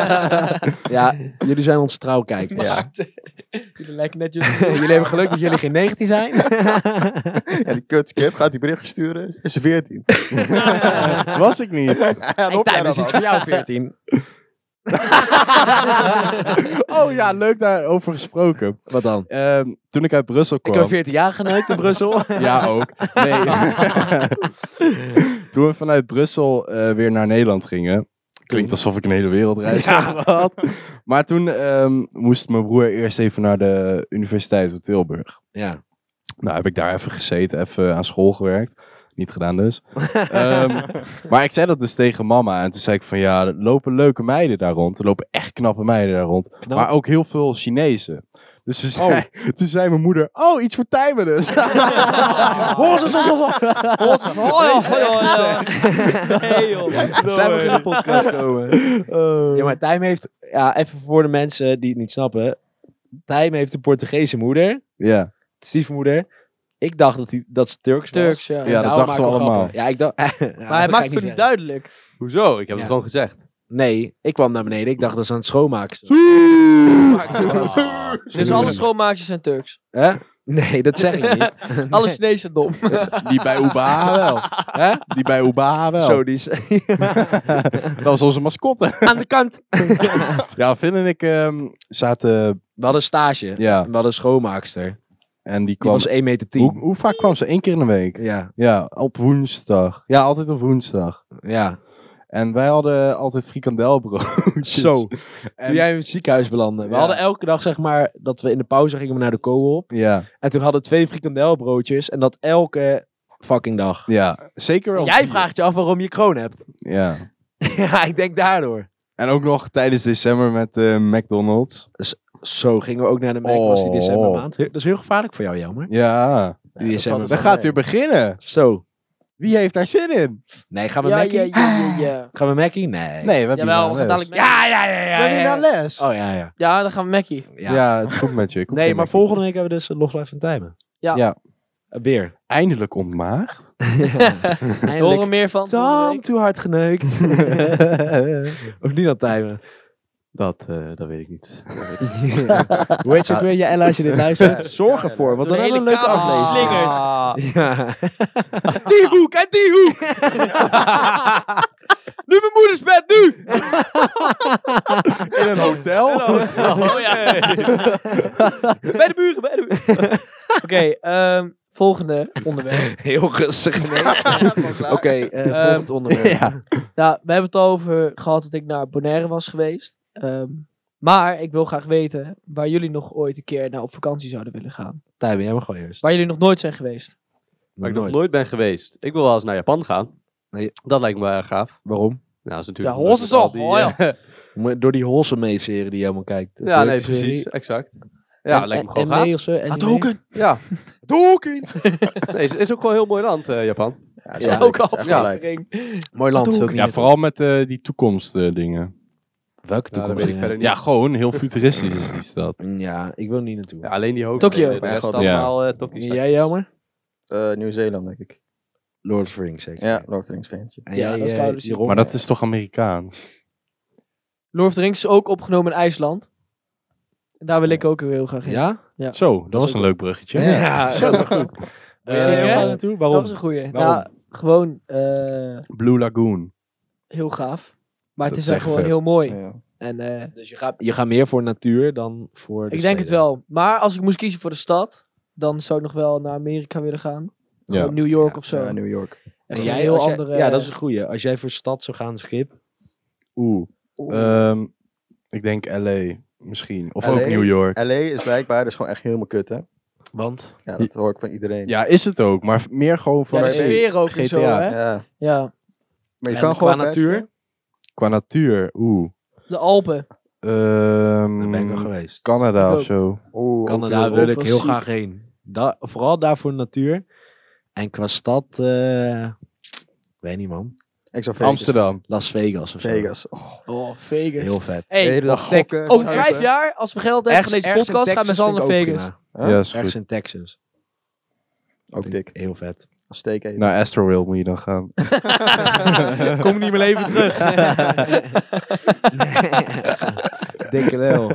S3: ja, jullie zijn ons trouwkijkers.
S2: Ja. Jullie lijken net
S3: jullie hebben geluk dat jullie geen 19 zijn.
S4: En die kut skip gaat die bericht sturen. Is ze 14.
S1: Was ik niet.
S4: en op jij dat ook.
S3: voor jou 14.
S1: Oh ja, leuk daarover gesproken.
S3: Wat dan?
S1: Ehm, toen ik uit Brussel
S3: Ik
S1: kwam.
S3: heb 14 jaar geneukt in Brussel.
S1: Ja, ook. Nee. Toen we vanuit Brussel eh, weer naar Nederland gingen. Klinkt alsof ik een hele wereldreis had gehad. Maar toen ehm, moest mijn broer eerst even naar de Universiteit van Tilburg.
S3: Ja.
S1: Nou, heb ik daar even gezeten, even aan school gewerkt. Niet gedaan dus. Ehm, maar ik zei dat dus tegen mama. En toen zei ik van ja, er lopen leuke meiden daar rond. Er lopen echt knappe meiden daar rond.
S3: Knap. Oh.
S1: Maar ook heel veel Chinezen. Dus toen zei, toen zei mijn moeder, oh, iets voor Tijmen dus. Hoor ze soms al-
S2: Oh, joh, joh, joh. Hey, joh.
S3: Zijn we geen podcast komen?
S1: Ehm,
S3: Ja, maar Tijm heeft... Ja, even voor de mensen die het niet snappen. Tijm heeft een Portugese moeder.
S1: Ja,
S3: Stiefmoeder. Ik dacht dat, hij, dat ze Turks was.
S2: Turks, ja.
S1: Ja. dat
S3: Nou,
S1: dachten we
S3: maken
S1: allemaal.
S3: grappen. Ja, ik dacht...
S2: Maar hij maakt het toen niet duidelijk.
S5: Hoezo? Ik heb
S3: Ja.
S5: het gewoon gezegd.
S3: Nee, ik kwam naar beneden. Ik dacht dat ze aan het schoonmaken zijn.
S5: Ah.
S2: Dus alle schoonmaakjes zijn Turks.
S3: Hè? Nee, dat zeg ik niet.
S2: Alle Chinezen zijn dom.
S1: die bij Ubaha wel.
S3: Hè?
S1: Die bij Ubaha wel.
S3: Zo, die is...
S1: Dat was onze mascotte.
S3: aan de kant.
S1: Ja, Finn en ik ehm, zaten,
S3: We hadden stage.
S1: ja,
S3: We hadden een schoonmaakster. Die
S1: en die kwam...
S3: was 1 meter 10.
S1: Hoe, hoe vaak kwam ze? Eén keer in de week?
S3: Ja,
S1: Ja, op woensdag. Ja, altijd op woensdag.
S3: ja.
S1: En wij hadden altijd frikandelbroodjes.
S3: Zo.
S1: En,
S3: Toen jij in het ziekenhuis belandde. We
S1: Ja.
S3: hadden elke dag, zeg maar, dat we in de pauze gingen we naar de co-op.
S1: Ja,
S3: En toen hadden we twee frikandelbroodjes. En dat elke fucking dag.
S1: ja, zeker wel.
S3: Jij
S1: vier.
S3: vraagt je af waarom je kroon hebt.
S1: Ja.
S3: ja, ik denk daardoor.
S1: En ook nog tijdens december met eh, McDonald's.
S3: Zo gingen we ook naar de Mac, was die
S1: Oh.
S3: december maand. Dat is heel gevaarlijk voor jou, jammer.
S1: Ja,
S3: Die december.
S1: dan gaat weer beginnen.
S3: Zo.
S1: Wie heeft daar zin in?
S3: Nee, gaan we
S2: Ja,
S3: Mackie?
S2: ja, ja, ja, ja.
S3: Gaan we Mackie? Nee.
S1: Nee, nou- we hebben
S2: Jawel, we
S1: hier
S2: gaan
S1: naar les.
S2: dadelijk Mackie.
S3: Ja, ja, ja,
S1: We
S3: ja.
S1: hebben hier
S3: ja,
S1: naar
S3: ja.
S1: les.
S3: Oh ja, ja.
S2: Ja, dan gaan we Mackie.
S1: ja. het is goed met je. Ik hoef
S3: Nee,
S1: geen
S3: maar
S1: Mackie.
S3: volgende week hebben we dus eh, Log Live en Tijmen.
S2: Ja.
S1: Ja.
S3: Eh, Weer.
S1: Eindelijk ontmaagd.
S2: We horen
S3: Eindelijk.
S2: meer van. volgende
S3: Tam,
S2: week.
S3: te hard geneukt. of niet aan Tijmen.
S5: Dat, eh, dat weet ik niet. Dat weet ik niet.
S3: Hoe heet je ook weer je Ella als je dit luistert? Zorg
S4: Tyler.
S3: ervoor, want
S2: Door
S3: dan
S2: de
S3: hebben we een
S2: hele
S3: leuke
S2: kamer
S3: aflevering.
S2: geslingerd.
S5: Ah.
S3: Ja.
S1: die hoek en die hoek.
S2: Nu mijn moeders bed, nu!
S1: In een hotel.
S2: Oh ja. bij de buren, bij de buren. Oké, ehm, volgende onderwerp.
S3: Heel rustig. Oké, eh,
S2: Ehm,
S3: volgend onderwerp.
S1: Ja.
S2: Nou, we hebben het al over gehad dat ik naar Bonaire was geweest. Ehm, maar ik wil graag weten waar jullie nog ooit een keer naar op vakantie zouden willen gaan.
S3: Tijmen, jij mag gewoon eerst.
S2: Waar jullie nog nooit zijn geweest.
S5: Waar ik
S3: Nog
S5: nog nooit ben geweest. Ik wil wel eens naar Japan gaan.
S3: Nee.
S5: Dat lijkt me wel erg gaaf.
S3: Waarom?
S5: Nou, dat is natuurlijk
S2: Ja, Hossen
S5: omdat
S2: is
S5: met
S2: al,
S5: al die,
S2: oh
S5: eh,
S3: Om- Door die Holsemee-serie die je helemaal kijkt. De
S5: ja, nee,
S3: serie.
S5: precies. Exact. Ja,
S3: En-
S5: lijkt me
S3: en-
S5: gewoon
S3: anime
S5: gaaf.
S3: of zo, anime.
S5: Ja,
S1: Doekin.
S5: nee, is, is ook wel een heel mooi land, eh, Japan.
S4: Ja,
S2: ook al
S5: ja.
S2: verandering.
S3: Mooi land. wil ik niet
S1: Ja,
S3: meer-
S1: vooral met eh, die toekomst eh, dingen.
S3: Welke
S5: Ja, dat
S3: toekomst?
S5: weet ik
S3: ja.
S5: verder niet.
S1: Ja, gewoon heel futuristisch is die stad.
S3: Ja, ik wil niet naartoe.
S5: Ja, alleen die hoofd.
S2: Tokio.
S5: De rest
S4: Ja.
S5: allemaal eh, Tokio.
S3: En jij, jammer?
S4: Nieuw-Zeeland, Eh, denk ik.
S3: Lord of the Rings, zeker.
S4: Ja, Lord of the Rings fansje.
S3: En
S2: Ja,
S3: jij,
S2: dat is
S3: eh,
S2: koud, dus-
S3: Jeroen?
S1: Maar dat is toch Amerikaans?
S2: Lord of the Rings is ook opgenomen in IJsland. En daar wil ik ook heel graag heen.
S3: Ja?
S1: Zo, dat, was een leuk bruggetje.
S3: zo goed. Wil je
S2: Eh,
S3: daar
S2: ja.
S3: naartoe?
S2: dat
S3: Waarom?
S2: is een goeie.
S3: Waarom?
S2: Nou, gewoon eh,
S1: Blue Lagoon.
S2: heel gaaf. Maar het
S1: Dat is
S2: is echt
S1: echt
S2: gewoon
S1: vet.
S2: heel mooi.
S4: Ja.
S2: En eh,
S3: Dus je gaat, je gaat meer voor natuur dan voor de
S2: ik denk het
S3: steden.
S2: wel. Maar als ik moest kiezen voor de stad, dan zou ik nog wel naar Amerika willen gaan.
S1: Ja.
S2: Gewoon New York of zo.
S4: Ja, New York.
S2: Echt
S3: En
S2: een
S3: jij,
S2: heel
S3: als jij-
S2: andere...
S3: ja, dat is een goeie. Als jij voor stad zou gaan, Schip.
S1: Oeh. Ehm, ik denk LA misschien. Of
S4: LA?
S1: ook New York.
S4: LA is blijkbaar dus gewoon echt helemaal kut, hè?
S3: Want?
S4: Ja, dat hoor ik van iedereen.
S1: Ja, is het ook. Maar meer gewoon van
S2: Ja, de
S4: Waarbij-
S2: sfeer ook en zo,
S1: GTA.
S2: hè?
S4: Ja.
S2: Ja,
S4: Maar je
S3: En
S4: kan
S3: qua
S4: gewoon best-
S3: natuur?
S1: qua natuur. Oeh.
S2: de Alpen.
S1: Ehm,
S3: Daar ben ik al
S4: mm,
S3: geweest.
S1: Canada
S2: Ik
S1: of zo.
S4: Oeh,
S3: Canada
S2: ook
S3: wil ik
S2: wel
S3: heel
S2: ziek.
S3: graag heen. Da- vooral daar voor natuur. En qua stad, eh, weet niet man.
S4: Ik zou Vegas.
S1: Amsterdam.
S3: Las Vegas of zo.
S4: Vegas. Oh,
S2: Oh, Vegas.
S3: Heel vet.
S4: de
S2: Hey,
S4: hele dag
S3: tek-
S4: gokken.
S2: over
S4: zuipen.
S2: vijf jaar, als we geld hebben van deze podcast, gaan we met z'n allen naar Vegas.
S4: Huh?
S1: Ja, is
S3: Ergens
S1: goed.
S3: in Texas.
S4: Ook
S3: Vind ik
S4: dik.
S3: Heel vet.
S4: Als steek eten.
S1: Naar Astroworld moet je dan gaan.
S2: Kom niet meer leven terug.
S3: Dikke lul.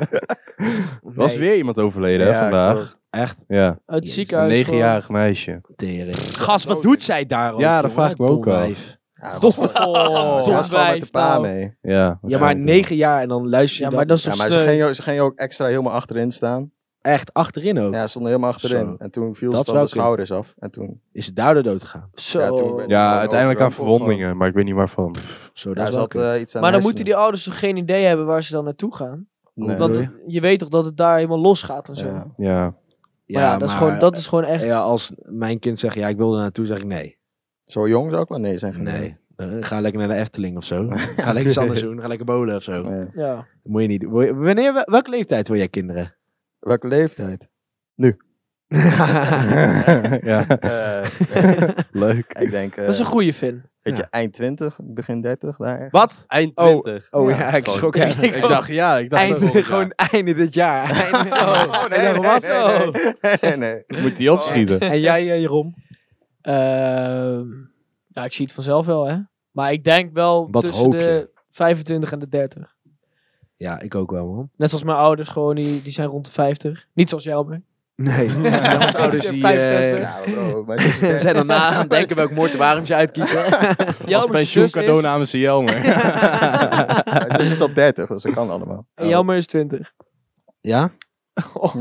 S1: was
S3: Nee,
S1: weer iemand overleden hè,
S4: Ja,
S1: vandaag.
S3: Echt
S1: Ja,
S2: Uit het
S3: Jezus,
S1: een
S2: ziekenhuis. gewoon.
S1: negenjarig meisje.
S3: tering. Gast, wat doet zij daar? ook,
S1: Ja, dat
S3: jongen?
S1: vraag ik me ook
S3: Dom
S1: af.
S3: wijf.
S4: Ja, dat was gewoon-
S2: Oh,
S4: Ze was gewoon met de
S2: wijf,
S4: pa
S2: nou.
S4: mee.
S1: Ja,
S3: Ja, maar negen jaar en dan luister je
S2: Ja,
S3: dan
S2: maar dat is
S4: Ja,
S2: toch
S4: maar ze
S2: sneu?
S4: ging, ook- ze ging ook extra helemaal achterin staan.
S3: echt achterin ook.
S4: Ja, ze stond helemaal achterin.
S3: Zo.
S4: En toen viel
S3: Dat zou
S4: ze van de
S3: kunnen.
S4: schouders af. En toen,
S3: Is het daardoor dood gegaan?
S2: Zo.
S4: Ja, toen werd-
S1: Ja, uiteindelijk aan
S4: Overal.
S1: verwondingen, maar ik weet niet waarvan.
S3: Zo, dat
S4: ja,
S3: is
S4: ze
S3: wel
S4: had
S3: kut.
S4: eh, iets aan
S2: maar dan
S4: haar
S2: moeten die ouders toch geen idee hebben waar ze dan naartoe gaan?
S4: hersenen. Nee.
S2: Want
S3: bedoel
S2: het- je weet toch dat het daar helemaal los gaat en zo.
S4: Ja.
S2: Maar
S1: Ja,
S2: Ja, dat, Is gewoon, dat is gewoon echt...
S3: Ja, als mijn kind zegt, ja, ik wil er naartoe, zeg ik nee.
S4: Zo jong zou ik wel nee zeggen.
S3: Nee. Eh, Ga lekker naar de Efteling of zo. Ga lekker iets anders doen. Ga lekker bowlen of zo.
S4: Nee.
S2: Ja.
S3: Moet je niet doen. Wil je- Wanneer, wel- welke leeftijd wil jij kinderen?
S4: Welke leeftijd?
S1: ja. leuk.
S4: ik denk, eh,
S2: Dat is een goede Finn.
S4: weet je, eind 20, begin 30 daar. echt.
S3: Wat?
S5: Eind
S3: Oh.
S5: 20.
S3: Oh ja, ik schrok echt.
S2: Ik
S1: Ik dacht, ja, ik dacht...
S3: Einde,
S1: dat-
S3: gewoon einde dit jaar. Einde zo. Ik dacht, wat? Oh.
S4: nee, nee.
S1: Ik moet die opschieten.
S3: En jij, eh, Jeroen?
S2: Ehm, ja, ik zie het vanzelf wel, hè. Maar ik denk wel
S3: Wat
S2: tussen
S3: hoop je?
S2: de 25 en de 30.
S3: Ja, ik ook wel, man.
S2: Net zoals mijn ouders, gewoon, die, die zijn rond de 50. Niet zoals Jelmer.
S3: Nee. Jouw ouders die... eh,
S2: 65.
S4: Ja, maar bro, mijn zus is
S3: Ze
S4: 30.
S3: zijn dan na aan het denken welk moordwaarm ze uitkiezen.
S1: Als
S2: Jelmer's zus
S1: pensioencadeau
S2: is-
S1: namens de Jelmer.
S4: Mijn zus is al 30, dus dat kan allemaal.
S2: En Jelmer is 20.
S3: ja?
S2: Oh,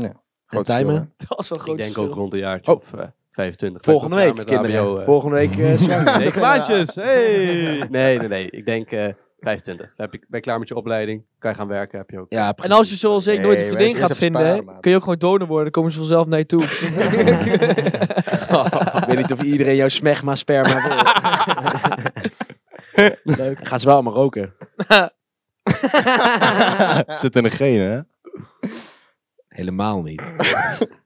S3: timer?
S4: Groot verschil,
S2: dat is wel een
S5: Ik
S2: groot
S5: denk ook
S2: verschil.
S5: rond een jaartje
S3: Oh.
S5: of eh, 25.
S3: Volgende
S5: Ga ik
S3: week,
S5: op jaar met
S3: kinderen.
S5: HBO, eh,
S3: Volgende week eh, zwanger.
S5: Negen maandjes. Hey. Nee, nee, nee. Ik denk eh 25. Dan heb ik, ben je klaar met je opleiding. Kan je gaan werken. Heb je ook.
S3: Ja,
S2: En als je zoals ik nooit een
S4: Nee,
S2: vriendin
S4: mensen,
S2: gaat
S4: eerst even
S2: vinden,
S4: sparen, maat.
S2: kun je ook gewoon donor worden. Dan komen ze vanzelf naar je toe.
S3: Ik weet niet of iedereen jouw smegma sperma wil.
S2: Leuk.
S3: Gaan ze wel allemaal roken.
S1: Zit in de genen, hè?
S3: Helemaal niet.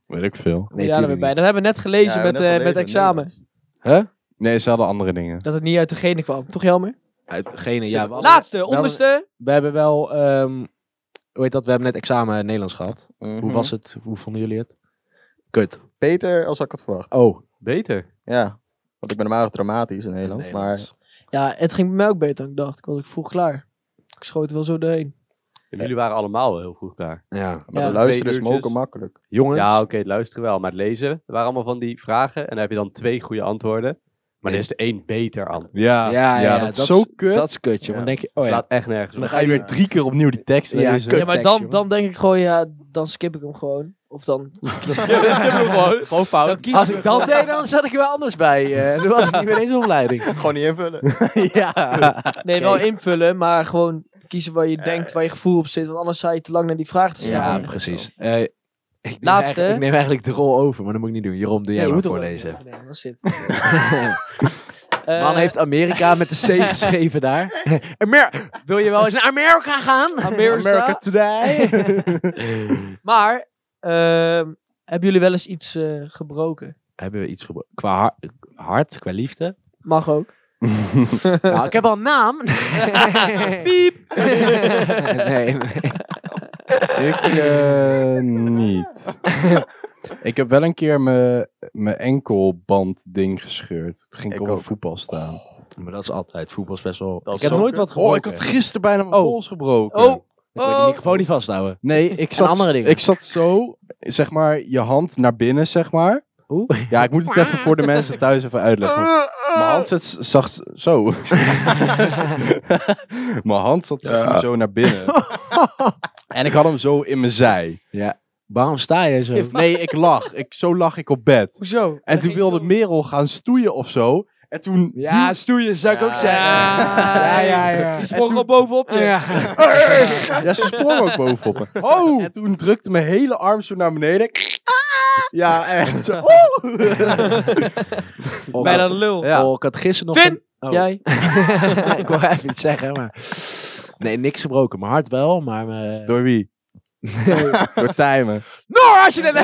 S1: Weet ik veel.
S3: Nee,
S2: ja, daar ben
S3: tuurlijk
S2: ik bij. Dat hebben we net gelezen
S4: Ja, we
S2: met,
S4: hebben net
S2: eh, met
S4: gelezen,
S2: examen.
S4: nee,
S1: Nee, ze hadden andere dingen.
S2: Dat het niet uit degene kwam. Toch, Jelmer?
S3: Uitgene, ja. We, hadden-
S2: Laatste, onderste.
S3: we hebben wel, ehm, hoe heet dat? We hebben net examen Nederlands gehad.
S4: dat- Mhm.
S3: Hoe was het? Hoe vonden jullie het? Kut.
S4: Beter als ik had verwacht.
S3: Oh.
S5: Beter.
S4: Ja. Want ik ben normaal dramatisch in Nederlands, maar
S2: Ja, het ging bij mij ook beter dan ik dacht. Ik was ook vroeg klaar. Ik schoot er wel zo doorheen.
S3: Eh.
S5: En jullie waren allemaal heel vroeg klaar.
S3: Ja.
S4: maar
S2: Ja.
S4: de luisteren is
S5: Twee uurtjes.
S4: mogen makkelijk.
S3: Jongens.
S5: Ja, oké, het luisteren wel. Maar het lezen, er waren allemaal van die vragen. En dan heb je dan twee goede antwoorden. Maar er is de één beter antwoord.
S1: Ja, ja, dat, is zo kut.
S3: Dat is kut,
S4: Ja.
S3: jongen. Dan denk je, oh ja.
S5: Slaat echt nergens op.
S1: dan ga je weer drie keer opnieuw die tekst
S3: Ja,
S1: lezen.
S3: kut.
S2: Ja, maar
S3: tekst,
S2: dan,
S3: jongen.
S2: dan denk ik gewoon, ja, dan skip ik hem gewoon. Of dan...
S5: gewoon, gewoon
S2: dan
S5: fout.
S2: kies
S3: Als
S2: ik
S3: ik dat deed, dan zat ik er wel anders bij. eh. dan was het niet meer deze opleiding.
S4: Gewoon niet invullen.
S2: Nee, wel invullen, maar gewoon kiezen waar je denkt, waar je gevoel op zit. Want anders zou je te lang naar die vraag te
S3: Ja,
S2: staan.
S3: precies. Eh, ik neem
S2: Laatste.
S3: eigenlijk- Ik neem eigenlijk de rol over, maar dat moet ik niet doen. Jeroen, doe jij maar voorlezen.
S2: Nee, dat zit. Eh,
S3: Man heeft Amerika met de C geschreven daar. Amer Wil je wel eens naar Amerika gaan?
S2: America.
S3: Today.
S2: Maar, ehm, hebben jullie wel eens iets eh, gebroken?
S3: Hebben we iets gebro- qua har- hart, qua liefde?
S2: Mag ook.
S3: Nou, ik heb al een naam.
S2: Piep!
S3: nee, nee.
S1: Ik eh, niet. ik heb wel een keer mijn- mijn enkelband ding gescheurd. Toen ging ik,
S4: Ik
S1: op een
S4: ook.
S1: voetbal staan.
S3: Maar dat is altijd. Voetbal is best wel...
S4: Dat
S3: ik
S4: is
S3: heb
S4: zo
S3: nooit
S4: kut.
S3: wat gebroken.
S1: Oh, ik had gisteren bijna mijn
S3: Oh.
S1: pols gebroken.
S2: Oh,
S3: Dan kon je
S2: Oh.
S3: die microfoon niet vasthouden.
S1: Nee, ik zat,
S3: andere dingen.
S1: ik zat zo, zeg maar, je hand naar binnen, zeg maar.
S3: Oeh.
S1: Ja, ik moet het even voor de mensen thuis even uitleggen. want Mijn hand zat s- zacht zo. mijn hand zat zeg maar zo naar binnen. en ik had hem zo in mijn zij.
S3: Waarom sta je zo?
S1: Nee, ik lag. Ik, zo lag ik op bed.
S2: hoezo?
S1: En toen wilde Merel gaan stoeien of zo. En toen...
S3: Ja, stoeien zou ik ook zeggen.
S2: Ja, ja, ja. Die sprong al bovenop je.
S3: Ja.
S1: Ja, ze sprong ook bovenop me.
S3: Oh!
S1: En toen drukte mijn hele arm zo naar beneden.
S3: Ah!
S1: Ja, echt. Zo, oeh.
S3: Oh,
S2: Bijna de lul.
S5: Ja.
S3: Oh, ik had gisteren nog...
S2: Vin!
S3: een- Oh.
S2: Jij?
S3: ik wil even iets zeggen, maar... Nee, niks gebroken. Mijn hart wel, maar... eh, mijn-
S1: Door wie? Door Tijmen.
S3: Noor, als je dat...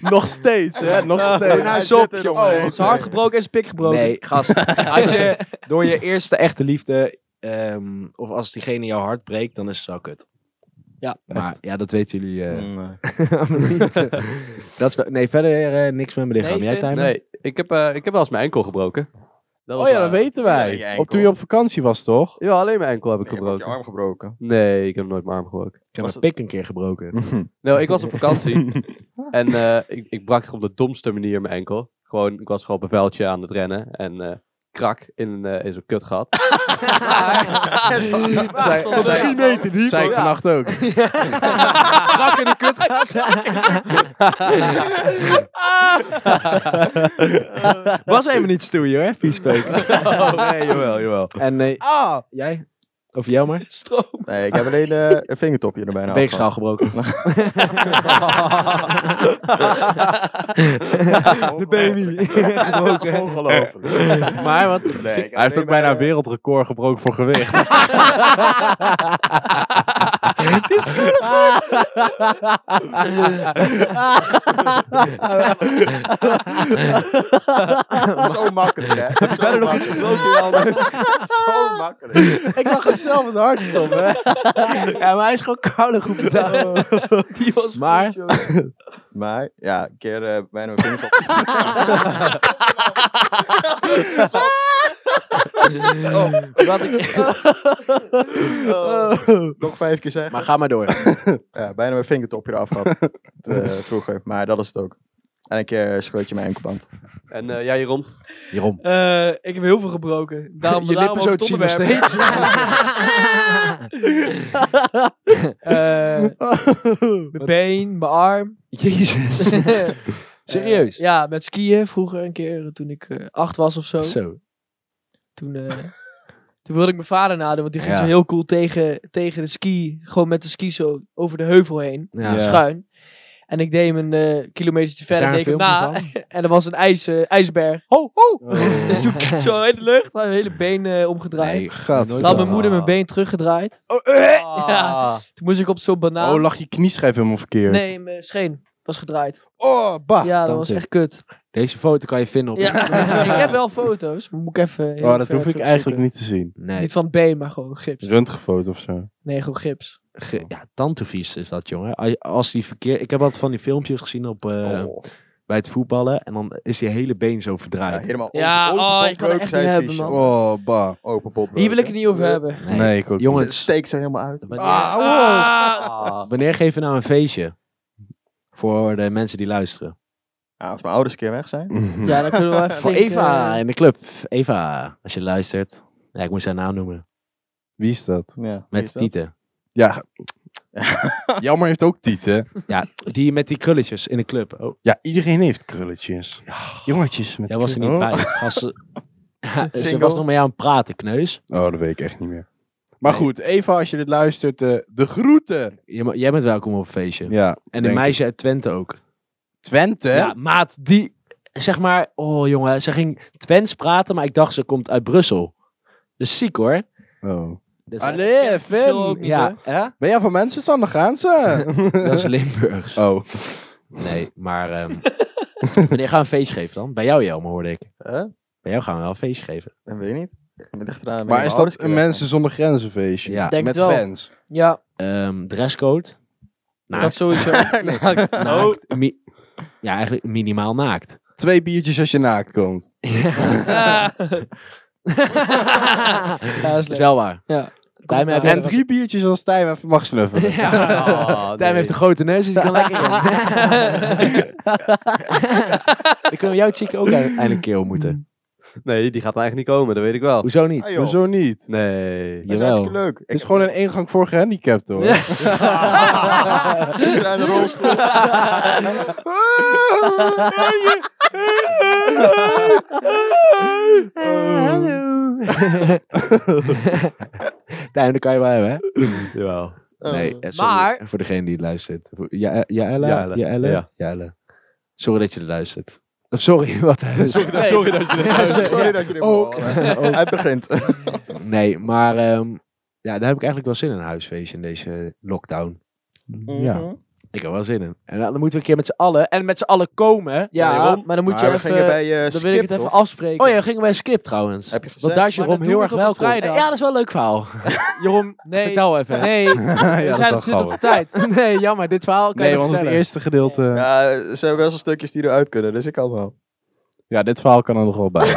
S1: Nog steeds, hè? Nog steeds.
S4: nou, zop, jongen.
S1: Oh,
S2: Zijn hart gebroken en zijn pik gebroken.
S3: Nee, gast. Als je door je eerste echte liefde... ehm, of als diegene jouw hart breekt, dan is het wel kut.
S2: Ja, Mm.
S3: Maar ja, dat weten jullie eh,
S4: Nee.
S3: allemaal niet. dat is, wel- nee, verder eh, niks met mijn lichaam.
S2: Nee,
S3: Jij,
S2: Vin?
S3: Tijmen?
S5: Nee, ik heb, eh, ik heb wel eens mijn enkel gebroken. Dat
S1: Oh
S5: was
S1: ja,
S5: waar.
S1: dat weten
S4: Ja, je
S1: wij.
S4: enkel.
S1: Op toen je op vakantie was, toch?
S5: Ja, alleen mijn enkel heb ik
S4: Ik heb je
S5: gebroken.
S4: arm gebroken.
S5: Nee, ik heb nooit mijn arm gebroken.
S3: Ik heb
S4: Was
S3: mijn
S4: het-
S3: pik een keer gebroken.
S5: Nou, ik was op vakantie. en eh, ik, ik brak op de domste manier mijn enkel. Gewoon, ik was gewoon op een veldje aan het rennen. En eh, krak in, eh in zo'n kutgat.
S1: Zij, zij,
S5: meter diep.
S1: zei ik vannacht ook.
S3: Strak in de kut Was even niet stoeien hoor, viespeuk.
S1: Oh, nee, jawel, jawel.
S3: En nee,
S1: Ah!
S3: jij? Of jou maar?
S2: Stroom.
S4: Nee, ik heb een hele eh, vingertopje er bijna
S3: Weegschaal gebroken.
S4: De baby. Ongelooflijk.
S3: maar wat?
S4: Nee, ik heb
S1: Hij heeft ook
S4: alleen
S1: bijna een wereldrecord gebroken voor gewicht.
S4: Zo makkelijk, hè? Verder nog iets gebroken, Zo makkelijk.
S1: ik mag er zelf het hardst op, hè?
S3: Ja, maar hij is gewoon koude goed bedacht.
S2: Die was
S3: Maar-
S2: goed, jongen.
S4: Maar, ja, een keer eh, bijna mijn vingertopje.
S3: Wat ik-
S4: Oh. Nog vijf keer zeggen.
S3: Maar ga maar door.
S4: Ja, bijna mijn vingertopje eraf gehad. eh, vroeger, maar dat is het ook. En een keer scheurt je mijn enkelband.
S5: En eh, jij, Jeroen?
S3: Jeroen.
S2: Eh, ik heb heel veel gebroken. Daarom,
S3: Je
S2: daarom
S3: lippen zo
S2: ook
S3: te
S2: het
S3: zien nog
S2: onderwerp.
S3: steeds.
S2: Eh, mijn been, mijn arm.
S3: Jezus. Serieus?
S2: Eh, ja, met skiën vroeger een keer, toen ik eh, acht was of zo.
S3: Zo.
S2: Toen, eh, toen wilde ik mijn vader nadoen, want die ging
S1: Ja.
S2: zo heel cool tegen, tegen de ski, gewoon met de ski zo over de heuvel heen,
S3: Ja.
S1: Ja.
S2: schuin.
S3: daar
S2: eh, deed ik hem
S3: een
S2: na.
S3: filmpje Oh,
S2: En er was een ijs, eh, ijsberg.
S3: Ho, ho!
S2: Dus toen keek ik zo in de lucht, had mijn hele been eh, omgedraaid.
S5: Nee.
S2: Toen
S1: Gadverdamme.
S2: had
S3: oh.
S2: mijn moeder mijn been teruggedraaid. Ja. Toen moest ik op zo'n banaan.
S1: Oh, lag je knieschijf helemaal verkeerd.
S2: nee, mijn scheen was gedraaid.
S1: Oh, bah.
S2: ja, dat
S3: Ah, dank
S2: was
S3: je.
S2: echt kut.
S3: Deze foto kan je vinden op...
S2: Ja. ik heb wel foto's, maar moet ik even... heel
S1: Oh, dat
S2: ver
S1: hoef ik
S2: terug
S1: eigenlijk
S2: zoeken.
S1: niet te zien.
S3: Nee.
S2: Niet van het been, maar gewoon gips.
S1: Röntgenfoto of zo.
S2: Nee, gewoon gips.
S3: Ge- ja, tantevies is dat, jongen. Als- Als die verkeer... Ik heb altijd van die filmpjes gezien op, eh,
S4: Oh.
S3: bij het voetballen. En dan is je hele been zo
S4: Ja,
S3: verdraaid.
S4: helemaal
S2: Ja,
S4: open,
S2: oh,
S4: open
S2: ik kan het
S4: potbreuk,
S2: echt
S4: zei
S2: niet
S4: het
S2: hebben,
S4: vies,
S2: man.
S4: joh.
S1: Oh, bah.
S4: Open potbreuk,
S2: Hier wil ik
S4: hè.
S2: het niet over
S4: Eh,
S2: hebben.
S3: Nee.
S1: Nee, ik ook
S3: Jongen,
S4: Het steekt zo helemaal uit.
S3: Wanneer,
S1: Ah,
S2: Ah,
S3: wanneer geef je nou een feestje? Voor de mensen die luisteren.
S4: Ja, als mijn ouders een keer weg zijn.
S1: niet.
S2: ja, dan kunnen we wel even
S3: Voor
S2: flink,
S3: Eva
S2: eh,
S3: in de club. Eva, als je luistert. Ja, ik moest haar naam noemen.
S1: Wie is dat?
S4: Ja, wie
S3: Met
S4: is dat?
S3: tieten.
S1: Ja. Jammer heeft ook tieten.
S3: Ja, die met die krulletjes in de club. Oh,
S1: Ja, iedereen heeft krulletjes. Jongetjes met
S3: jij was er niet
S1: krullen.
S3: bij. Gast, ze- Ja, ze
S4: Single.
S3: was nog met jou aan het praten, kneus.
S1: Oh, dat weet ik echt niet meer. Maar goed, Eva, als je dit luistert, eh, de groeten.
S3: Je ma- jij bent welkom op een feestje.
S1: Ja,
S3: en de
S1: denk
S3: meisje uit Twente ook.
S1: Twente?
S3: Ja, maat, die... Zeg maar, oh jongen, ze ging Twents praten, maar ik dacht ze komt uit Brussel. Dus ziek hoor.
S1: Oh.
S3: Dus-
S1: Allee,
S2: verschil ook
S1: Finn.
S2: niet,
S3: ja, hè?
S1: Ben jij van mensen, Sander Gaanse?
S3: dat is Limburgs.
S1: oh.
S3: Nee, maar ehm, wanneer gaan we een feestje geven dan? Bij jou, Jelme, hoorde ik.
S4: Huh?
S3: Bij jou gaan we wel een feestje geven.
S4: Dat weet ik niet. Dat ligt eraan wanneer
S1: Maar
S4: mijn
S1: is
S4: ouders
S1: dat
S4: keer
S1: een
S4: weg zijn.
S1: mensen zonder grenzen feestje?
S3: Ja.
S2: Denk
S1: Met
S2: het wel.
S1: fans?
S2: Ja,
S3: Ehm, dresscode?
S2: dat
S3: Naakt.
S2: sowieso.
S3: naakt. Mi- ja, eigenlijk minimaal naakt.
S1: Twee biertjes als je naakt komt.
S2: ja, dat is
S3: is
S2: leuk.
S3: wel waar.
S2: Ja.
S3: Tijmen heb
S2: Ja,
S1: En
S2: dat-
S1: drie biertjes als Tijm even mag snuffelen.
S3: Tijm
S5: Ah,
S3: heeft een grote neus, dus die kan lekker Dan kunnen we jouw chick ook eindelijk een keer ontmoeten.
S5: Nee, die gaat eigenlijk niet komen, dat weet ik wel.
S3: Hoezo niet?
S4: Ah, joh.
S1: Hoezo niet?
S5: Nee.
S4: Dat is
S3: Jawel.
S4: hartstikke leuk.
S1: Het is gewoon een ingang voor gehandicapten hoor.
S4: Ik draai een rolstoel.
S3: Hallo. Tijm, dat kan je wel hebben, hè?
S5: Jawel.
S3: Nee, eh, sorry
S2: Maar-
S3: voor degene die het luistert. Voor- Ja, eh, ja, Ella? Ja,
S5: Jelle.
S3: Ella? Ja, Ella?
S5: Ja.
S3: Sorry dat je het luistert. Of sorry, wat?
S5: Sorry dat je
S4: Eh, Sorry dat je dit
S3: Ook.
S4: moet horen. Hij begint.
S3: Nee, maar ehm, ja, daar heb ik eigenlijk wel zin in, een huisfeestje in deze lockdown.
S4: Mhm.
S1: Ja.
S3: Ik heb wel zin in. En dan moeten we een keer met z'n allen, en met z'n allen komen.
S2: ja,
S3: Jeroen.
S2: maar dan moet
S4: Maar
S2: je
S4: we
S2: even...
S4: gingen bij eh
S2: dan wil ik
S4: Skip,
S2: het even
S4: toch?
S2: afspreken.
S3: Oh ja, we gingen bij Skip trouwens.
S4: Heb je gezegd?
S3: Want daar is
S2: Maar
S3: Jeroen
S2: dat
S3: heel
S2: doen
S3: erg
S2: we toch op
S3: welkom.
S2: vrijdag?
S3: Ja, dat is wel een leuk verhaal. Jeroen,
S2: Nee.
S3: vertel even.
S2: Nee, we
S1: dat is
S2: zijn op
S1: wel
S2: zit op de tijd.
S3: Nee, jammer, dit verhaal kan
S1: Nee,
S3: je nog
S1: want het
S3: vertellen.
S1: eerste gedeelte... Ja.
S4: Ja, eh, ze hebben wel zo'n stukjes die eruit kunnen, dus ik kan wel.
S1: dit verhaal kan er nog wel bij.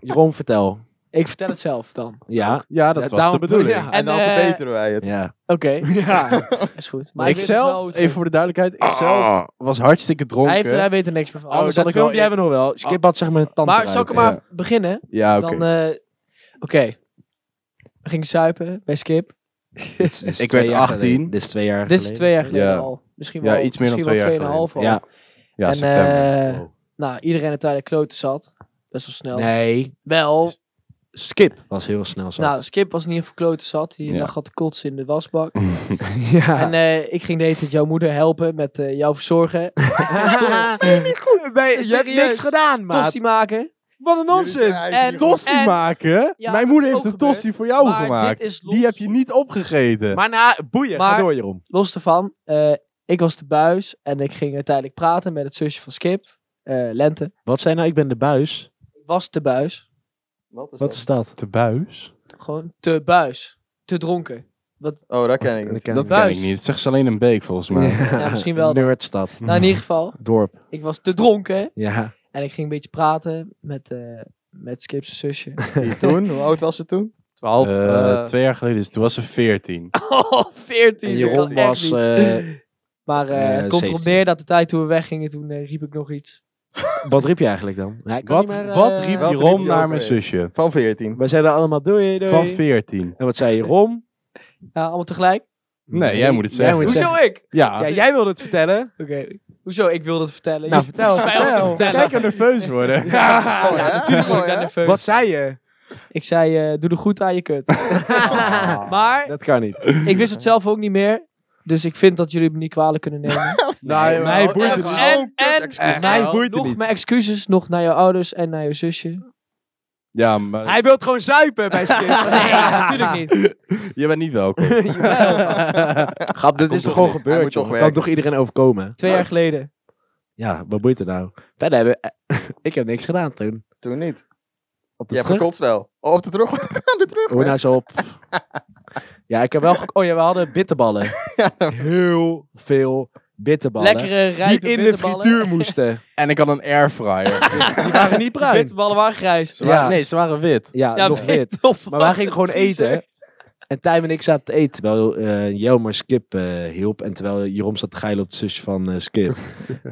S3: Jeroen, vertel.
S2: Ik vertel het zelf dan.
S3: Ja.
S1: Ja, dat
S3: Ja,
S1: was de
S3: daarom-
S1: bedoeling.
S3: ja.
S4: En, dan
S2: eh,
S4: verbeteren wij het.
S3: Ja.
S2: Oké,
S3: ja.
S2: is goed.
S1: Maar
S2: Maar
S1: ik zelf, even voor de duidelijkheid, ik zelf was hartstikke dronken.
S2: Hij, heeft, hij weet er niks meer van. Oh,
S1: Anders
S3: dat
S1: had ik wel-
S3: filmpje hebben we nog wel. Skip had zeg maar een tand
S2: maar
S3: eruit.
S2: zal ik
S1: eruit,
S2: maar beginnen?
S1: Ja, oké.
S2: Dan, eh, Oké. We gingen suipen bij Skip.
S3: Dit is- dit is
S1: Ik
S3: twee
S1: werd
S3: jaar
S1: 18.
S3: geleden. Dit is twee jaar
S2: Dit is twee jaar geleden
S1: Ja.
S2: al. Misschien
S1: Ja,
S2: wel,
S1: iets meer dan
S2: misschien
S1: twee
S2: wel
S1: jaar
S2: tweeënhalf al.
S3: geleden. Ja.
S1: ja,
S2: en,
S1: september.
S2: eh, Nou, iedereen uiteindelijk kloten zat. Best wel snel.
S3: Nee,
S2: Wel,
S3: Skip was heel snel zat.
S2: nou, Skip was niet ieder geval kloten zat. Die
S1: Ja.
S2: lag al te kotsen in de wasbak.
S3: ja.
S2: En eh, ik ging de hele tijd jouw moeder helpen met eh, jou verzorgen.
S3: niet goed. Nee, je hebt
S2: Serieus.
S3: niks gedaan, maat.
S2: Tosti maken.
S3: Wat een
S4: Jullie
S3: nonzin.
S4: zijn
S2: En-
S4: ijzeren.
S1: tosti
S2: en-
S1: maken?
S2: Ja,
S1: Mijn
S2: dat
S1: moeder
S2: is
S1: heeft
S2: ook
S1: een tosti voor jou
S2: maar
S1: gemaakt.
S2: Dit is los,
S1: Die heb je niet opgegeten.
S3: Maar na, boeien.
S2: Maar-
S3: Ga door, Jeroen.
S2: los daarvan. eh, ik was de buis en ik ging uiteindelijk praten met het zusje van Skip. eh, Lente.
S3: Wat zei nou, ik ben de buis?
S2: Ik was de buis.
S4: Wat is
S3: Wat
S4: dat?
S3: is dat?
S1: te buis?
S2: Gewoon te buis. Te dronken.
S4: Oh, dat ken ik niet.
S1: Dat ken
S2: Buis.
S1: ik niet. Zeg ze alleen een beek volgens mij. Eh,
S2: Ja, misschien wel.
S3: Nerdstad.
S2: Nou, in ieder geval.
S3: Dorp.
S2: Ik was te dronken.
S3: Ja.
S2: En ik ging een beetje praten met, eh, met Skip's zusje.
S4: Die toen? Hoe oud was ze toen?
S5: 12.
S1: Eh,
S5: eh,
S1: twee jaar geleden, dus toen was ze 14.
S2: Oh, 14.
S3: En
S2: dat
S3: Jeroen
S2: echt
S3: was...
S2: niet.
S3: eh,
S2: maar eh,
S3: eh,
S2: het komt erop
S3: 17.
S2: neer dat de tijd toen we weggingen, toen eh, riep ik nog iets.
S3: wat riep je eigenlijk dan? Ja, ik kan
S1: Wat,
S3: niet meer,
S1: wat
S3: eh,
S1: riep
S4: wat riep
S1: Jeroen
S4: je
S1: naar
S4: ook
S1: mijn
S4: weer?
S1: zusje?
S4: Van 14.
S3: Wij zeiden allemaal doei, doei.
S1: Van 14.
S3: En wat zei Jeroen?
S2: Ja, Nou, allemaal tegelijk.
S1: Nee, jij moet het zeggen.
S3: moet
S2: Hoezo ik?
S1: Ja,
S3: Ja, jij wilde het vertellen.
S2: Oké. Hoezo? Ik wilde het vertellen.
S3: Nou,
S2: Je-
S3: vertel,
S2: Wij wilden het
S3: vertel.
S2: vertellen.
S1: kijk er nerveus worden.
S4: Oh, ja?
S2: Natuurlijk word ik
S4: Oh, ja?
S2: daar nerveus.
S3: Wat zei je?
S2: Ik zei, eh, doe er goed aan je kut. maar
S3: Dat kan niet.
S2: ik wist het zelf ook niet meer. Dus ik vind dat jullie me niet kwalijk kunnen nemen.
S1: Nou,
S4: Nee,
S1: mij
S4: maar-
S1: boeit het
S4: en-
S1: niet.
S2: en-
S4: zo'n kut
S2: en-
S4: excuus.
S1: Mij
S4: Nou,
S1: boeit het
S2: Nog
S1: niet.
S2: mijn excuses nog naar jouw ouders en naar je zusje.
S1: Ja, maar
S3: Hij wil gewoon zuipen bij Skip.
S2: Nee, natuurlijk niet.
S1: je bent niet welkom.
S3: Grap, dit is toch
S4: toch
S3: gewoon
S4: niet. Hij
S3: gebeurd. jongen.
S4: moet toch
S3: kan
S4: werken.
S3: toch iedereen overkomen?
S2: Twee jaar geleden.
S3: Ja, wat boeit het nou? Verder hebben... ik heb niks gedaan toen.
S4: Toen niet.
S3: Op de
S4: Je hebt
S3: terug.
S4: gekotst wel. Oh, op de terug. de terug.
S3: Hoe nou zo op. ja, ik heb wel... gek- Oh ja, we hadden bitterballen. Heel veel bitterballen.
S2: Lekkere,
S3: Die
S2: rijpe
S3: in de
S2: bitterballen.
S3: frituur moesten.
S1: en ik had een airfryer.
S3: Die waren niet
S2: De
S3: bruin.
S2: bitterballen waren grijs.
S1: Ze waren,
S3: Ja.
S1: Nee, ze waren wit.
S3: Ja, nog
S2: weet
S3: wit.
S2: ik nog
S3: Maar wij
S2: van
S3: gingen
S2: de
S3: gewoon
S2: vriezer.
S3: eten. En Tijm en ik zaten te eten, terwijl eh Jelmer Skip eh, hielp. En terwijl Jeroen zat te geilen op het zusje van eh, Skip.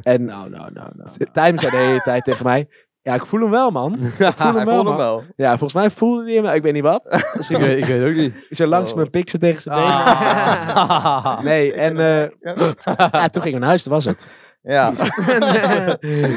S3: en
S2: Nou, nou, nou, nou.
S3: Tijm zei de hele tijd tegen mij... Ja, ik voel hem wel, man. Ik voel hem
S4: Hij
S3: wel,
S4: voelde
S3: man.
S4: hem wel.
S3: Ja, volgens mij voelde hij hem, ik weet niet wat.
S5: ik, weet, ik weet ook niet.
S3: Zo langs
S4: Oh.
S3: mijn pik zo tegen zijn benen.
S2: Ah.
S3: Nee, en eh, ja, toen ging ik naar huis, dat was het.
S4: Ja.
S3: En, eh,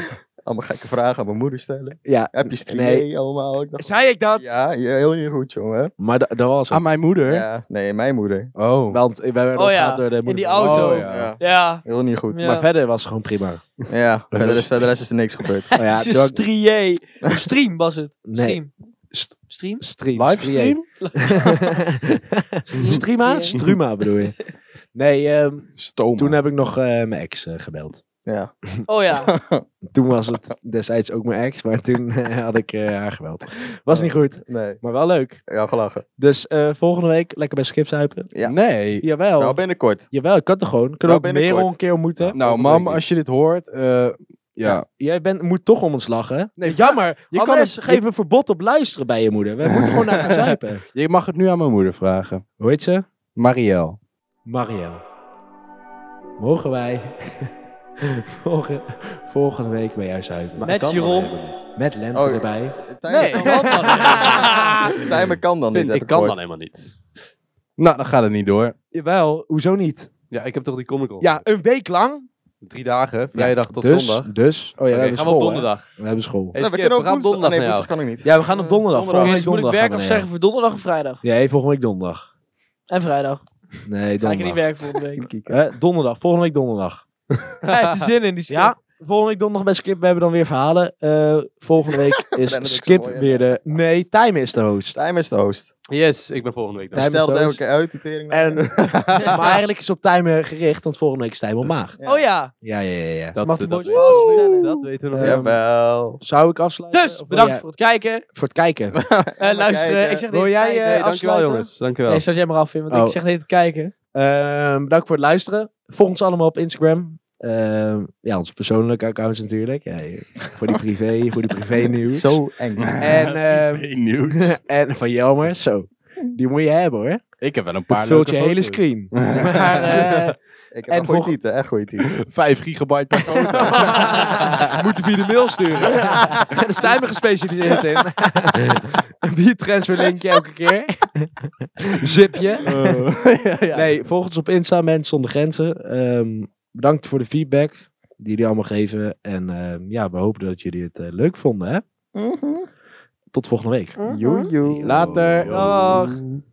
S4: Allemaal gekke vragen aan mijn moeder stellen.
S3: ja,
S4: Heb je studie
S3: Nee.
S4: allemaal? Ik dacht,
S3: zei ik dat?
S4: ja, je- heel niet goed, jongen.
S3: Maar da- dat was het.
S1: Aan mijn moeder.
S4: Ja, nee, mijn moeder.
S1: Oh.
S3: Want eh, we werden
S2: Oh ja,
S3: opgehaald door de
S2: in die
S3: moeder. van-
S2: auto.
S1: Oh, ja.
S2: Ja.
S4: Heel niet goed.
S2: Ja.
S3: Maar verder was het gewoon prima. Oh,
S4: Ja, verder is, verder is er niks gebeurd.
S3: ja,
S2: Het is
S3: toen
S2: een
S3: had ik-
S2: strié. Stream was het.
S3: nee,
S2: Stream.
S3: St-
S2: Stream?
S3: stream.
S1: Livestream?
S3: stream. Strima? Struma bedoel je. Nee, ehm,
S1: Stoma.
S3: toen heb ik nog eh, mijn ex eh, gebeld.
S4: Ja.
S2: Oh ja.
S3: Toen was het destijds ook mijn ex, maar toen eh, had ik eh, haar gebeld. Was niet goed,
S4: Nee.
S3: maar wel leuk.
S4: Ja, gelachen.
S3: Dus eh, volgende week lekker bij Skip zuipen.
S4: Ja.
S1: Nee.
S3: Jawel.
S4: Nou, binnenkort.
S3: Jawel, ik kan toch gewoon. Kunnen we
S4: Nou,
S3: ook meer
S4: binnenkort.
S3: een keer ontmoeten?
S1: Nou,
S3: Volgende
S1: mam,
S3: week.
S1: als je dit hoort, eh, ja.
S3: Jij bent, moet toch om ons lachen.
S1: Nee,
S3: Jammer.
S1: je
S3: Je
S1: kan
S3: anders
S1: het-
S3: geef een verbod op luisteren bij je moeder. We moeten gewoon naar gaan zuipen.
S1: Je mag het nu aan mijn moeder vragen.
S3: Hoe heet ze?
S1: Marielle.
S3: Marielle. Mogen wij volgen- volgende week bij jou zuipen?
S2: Met
S5: Dat kan
S2: Jeroen.
S5: dan helemaal niet.
S3: Met lente
S4: Oh, ja.
S3: erbij.
S1: Nee.
S4: Timer kan dan niet. heb
S5: Ik kan dan
S4: gehoord.
S5: helemaal niet.
S1: Nou, dan gaat het niet door.
S3: Jawel, hoezo niet?
S5: Ja, ik heb toch die comic Con?
S3: Oh. Ja, een week lang.
S5: Drie dagen, vrijdag tot
S3: dus,
S5: zondag.
S3: Dus, oh ja,
S5: Oké,
S3: we hebben
S5: gaan we
S3: school.
S5: op
S3: hè?
S5: donderdag.
S3: We hebben school.
S5: Hey,
S4: Nee, we
S5: Skip,
S4: kunnen ook
S5: we gaan
S4: woensdag. Nee,
S5: donderdag naar
S4: woensdag
S5: jou.
S4: kan ook niet.
S3: Ja, we gaan op donderdag.
S4: Donderdag.
S3: Volgende
S2: Oké, dus Eh, moet
S3: week
S2: ik
S3: donderdag.
S2: werken
S3: gaan
S2: of
S3: we
S2: zeggen voor donderdag of vrijdag?
S3: naar jou. Nee, volgende week donderdag.
S2: En vrijdag.
S3: Nee,
S2: Ga ik er niet
S3: donderdag.
S2: werken volgende week.
S3: Eh, donderdag, volgende week donderdag.
S2: Hij heeft er zin in, die skip.
S3: Ja, volgende week donderdag bij Skip. We hebben dan weer verhalen. Eh, volgende week is
S4: Brandon is
S3: Skip
S4: mooi, hè?
S3: weer de... Nee, Time is de host.
S4: Timer is de host.
S5: Yes, ik ben volgende week
S3: Daar-
S5: daar.
S4: Stel dat
S3: is de
S4: elke keer uit, die tering.
S3: En, maar eigenlijk is op Time gericht, want volgende week is Time op maag.
S4: Ja.
S2: Oh ja.
S3: Ja, ja, ja. ja.
S5: Dat,
S2: mag de
S5: dat,
S2: boodschap
S5: weten we-
S2: vertellen.
S5: dat weten we nog
S3: Eh,
S5: niet.
S4: Jawel.
S3: Zou ik afsluiten? Of
S2: Dus,
S3: wil
S2: bedankt
S3: jij-
S2: voor het kijken.
S3: voor het kijken.
S2: En luisteren.
S4: kijken.
S2: Ik zeg
S3: Wil
S2: niet
S3: jij,
S2: kijken.
S3: eh,
S5: Hey, dankjewel
S3: afsluiten?
S5: jongens. Dankjewel.
S2: Nee, start jij maar af in, want
S3: Oh.
S2: ik zeg niet kijken.
S3: Ehm, bedankt voor het luisteren. Volg ons allemaal op Instagram. Ehm, ja, onze persoonlijke accounts natuurlijk. Ja, je- voor die privé, voor die privé nieuws.
S4: Zo eng.
S3: En, ehm,
S1: Hey, nieuws.
S3: en van Jelmer, zo. Die moet je hebben hoor.
S1: ik heb wel een
S3: Dat
S1: paar
S3: vult
S1: leuke
S3: je hele
S1: foto's.
S3: screen. Maar, eh,
S4: Ik heb
S3: En
S4: een goede
S3: volg-
S4: titel, echt goede titel.
S1: 5 gigabyte per foto.
S3: Moeten we je de mail sturen? Daar is Tijmen gespecialiseerd in. Een biertransfer linkje elke keer. Zipje.
S5: Oh.
S3: Nee, volg ons op Insta, Mensen Zonder Grenzen. Ehm, bedankt voor de feedback die jullie allemaal geven. En ehm, ja, we hopen dat jullie het eh, leuk vonden. Hè? Tot volgende week.
S4: Joejoe.
S1: Later.
S2: Dag.
S5: Yo.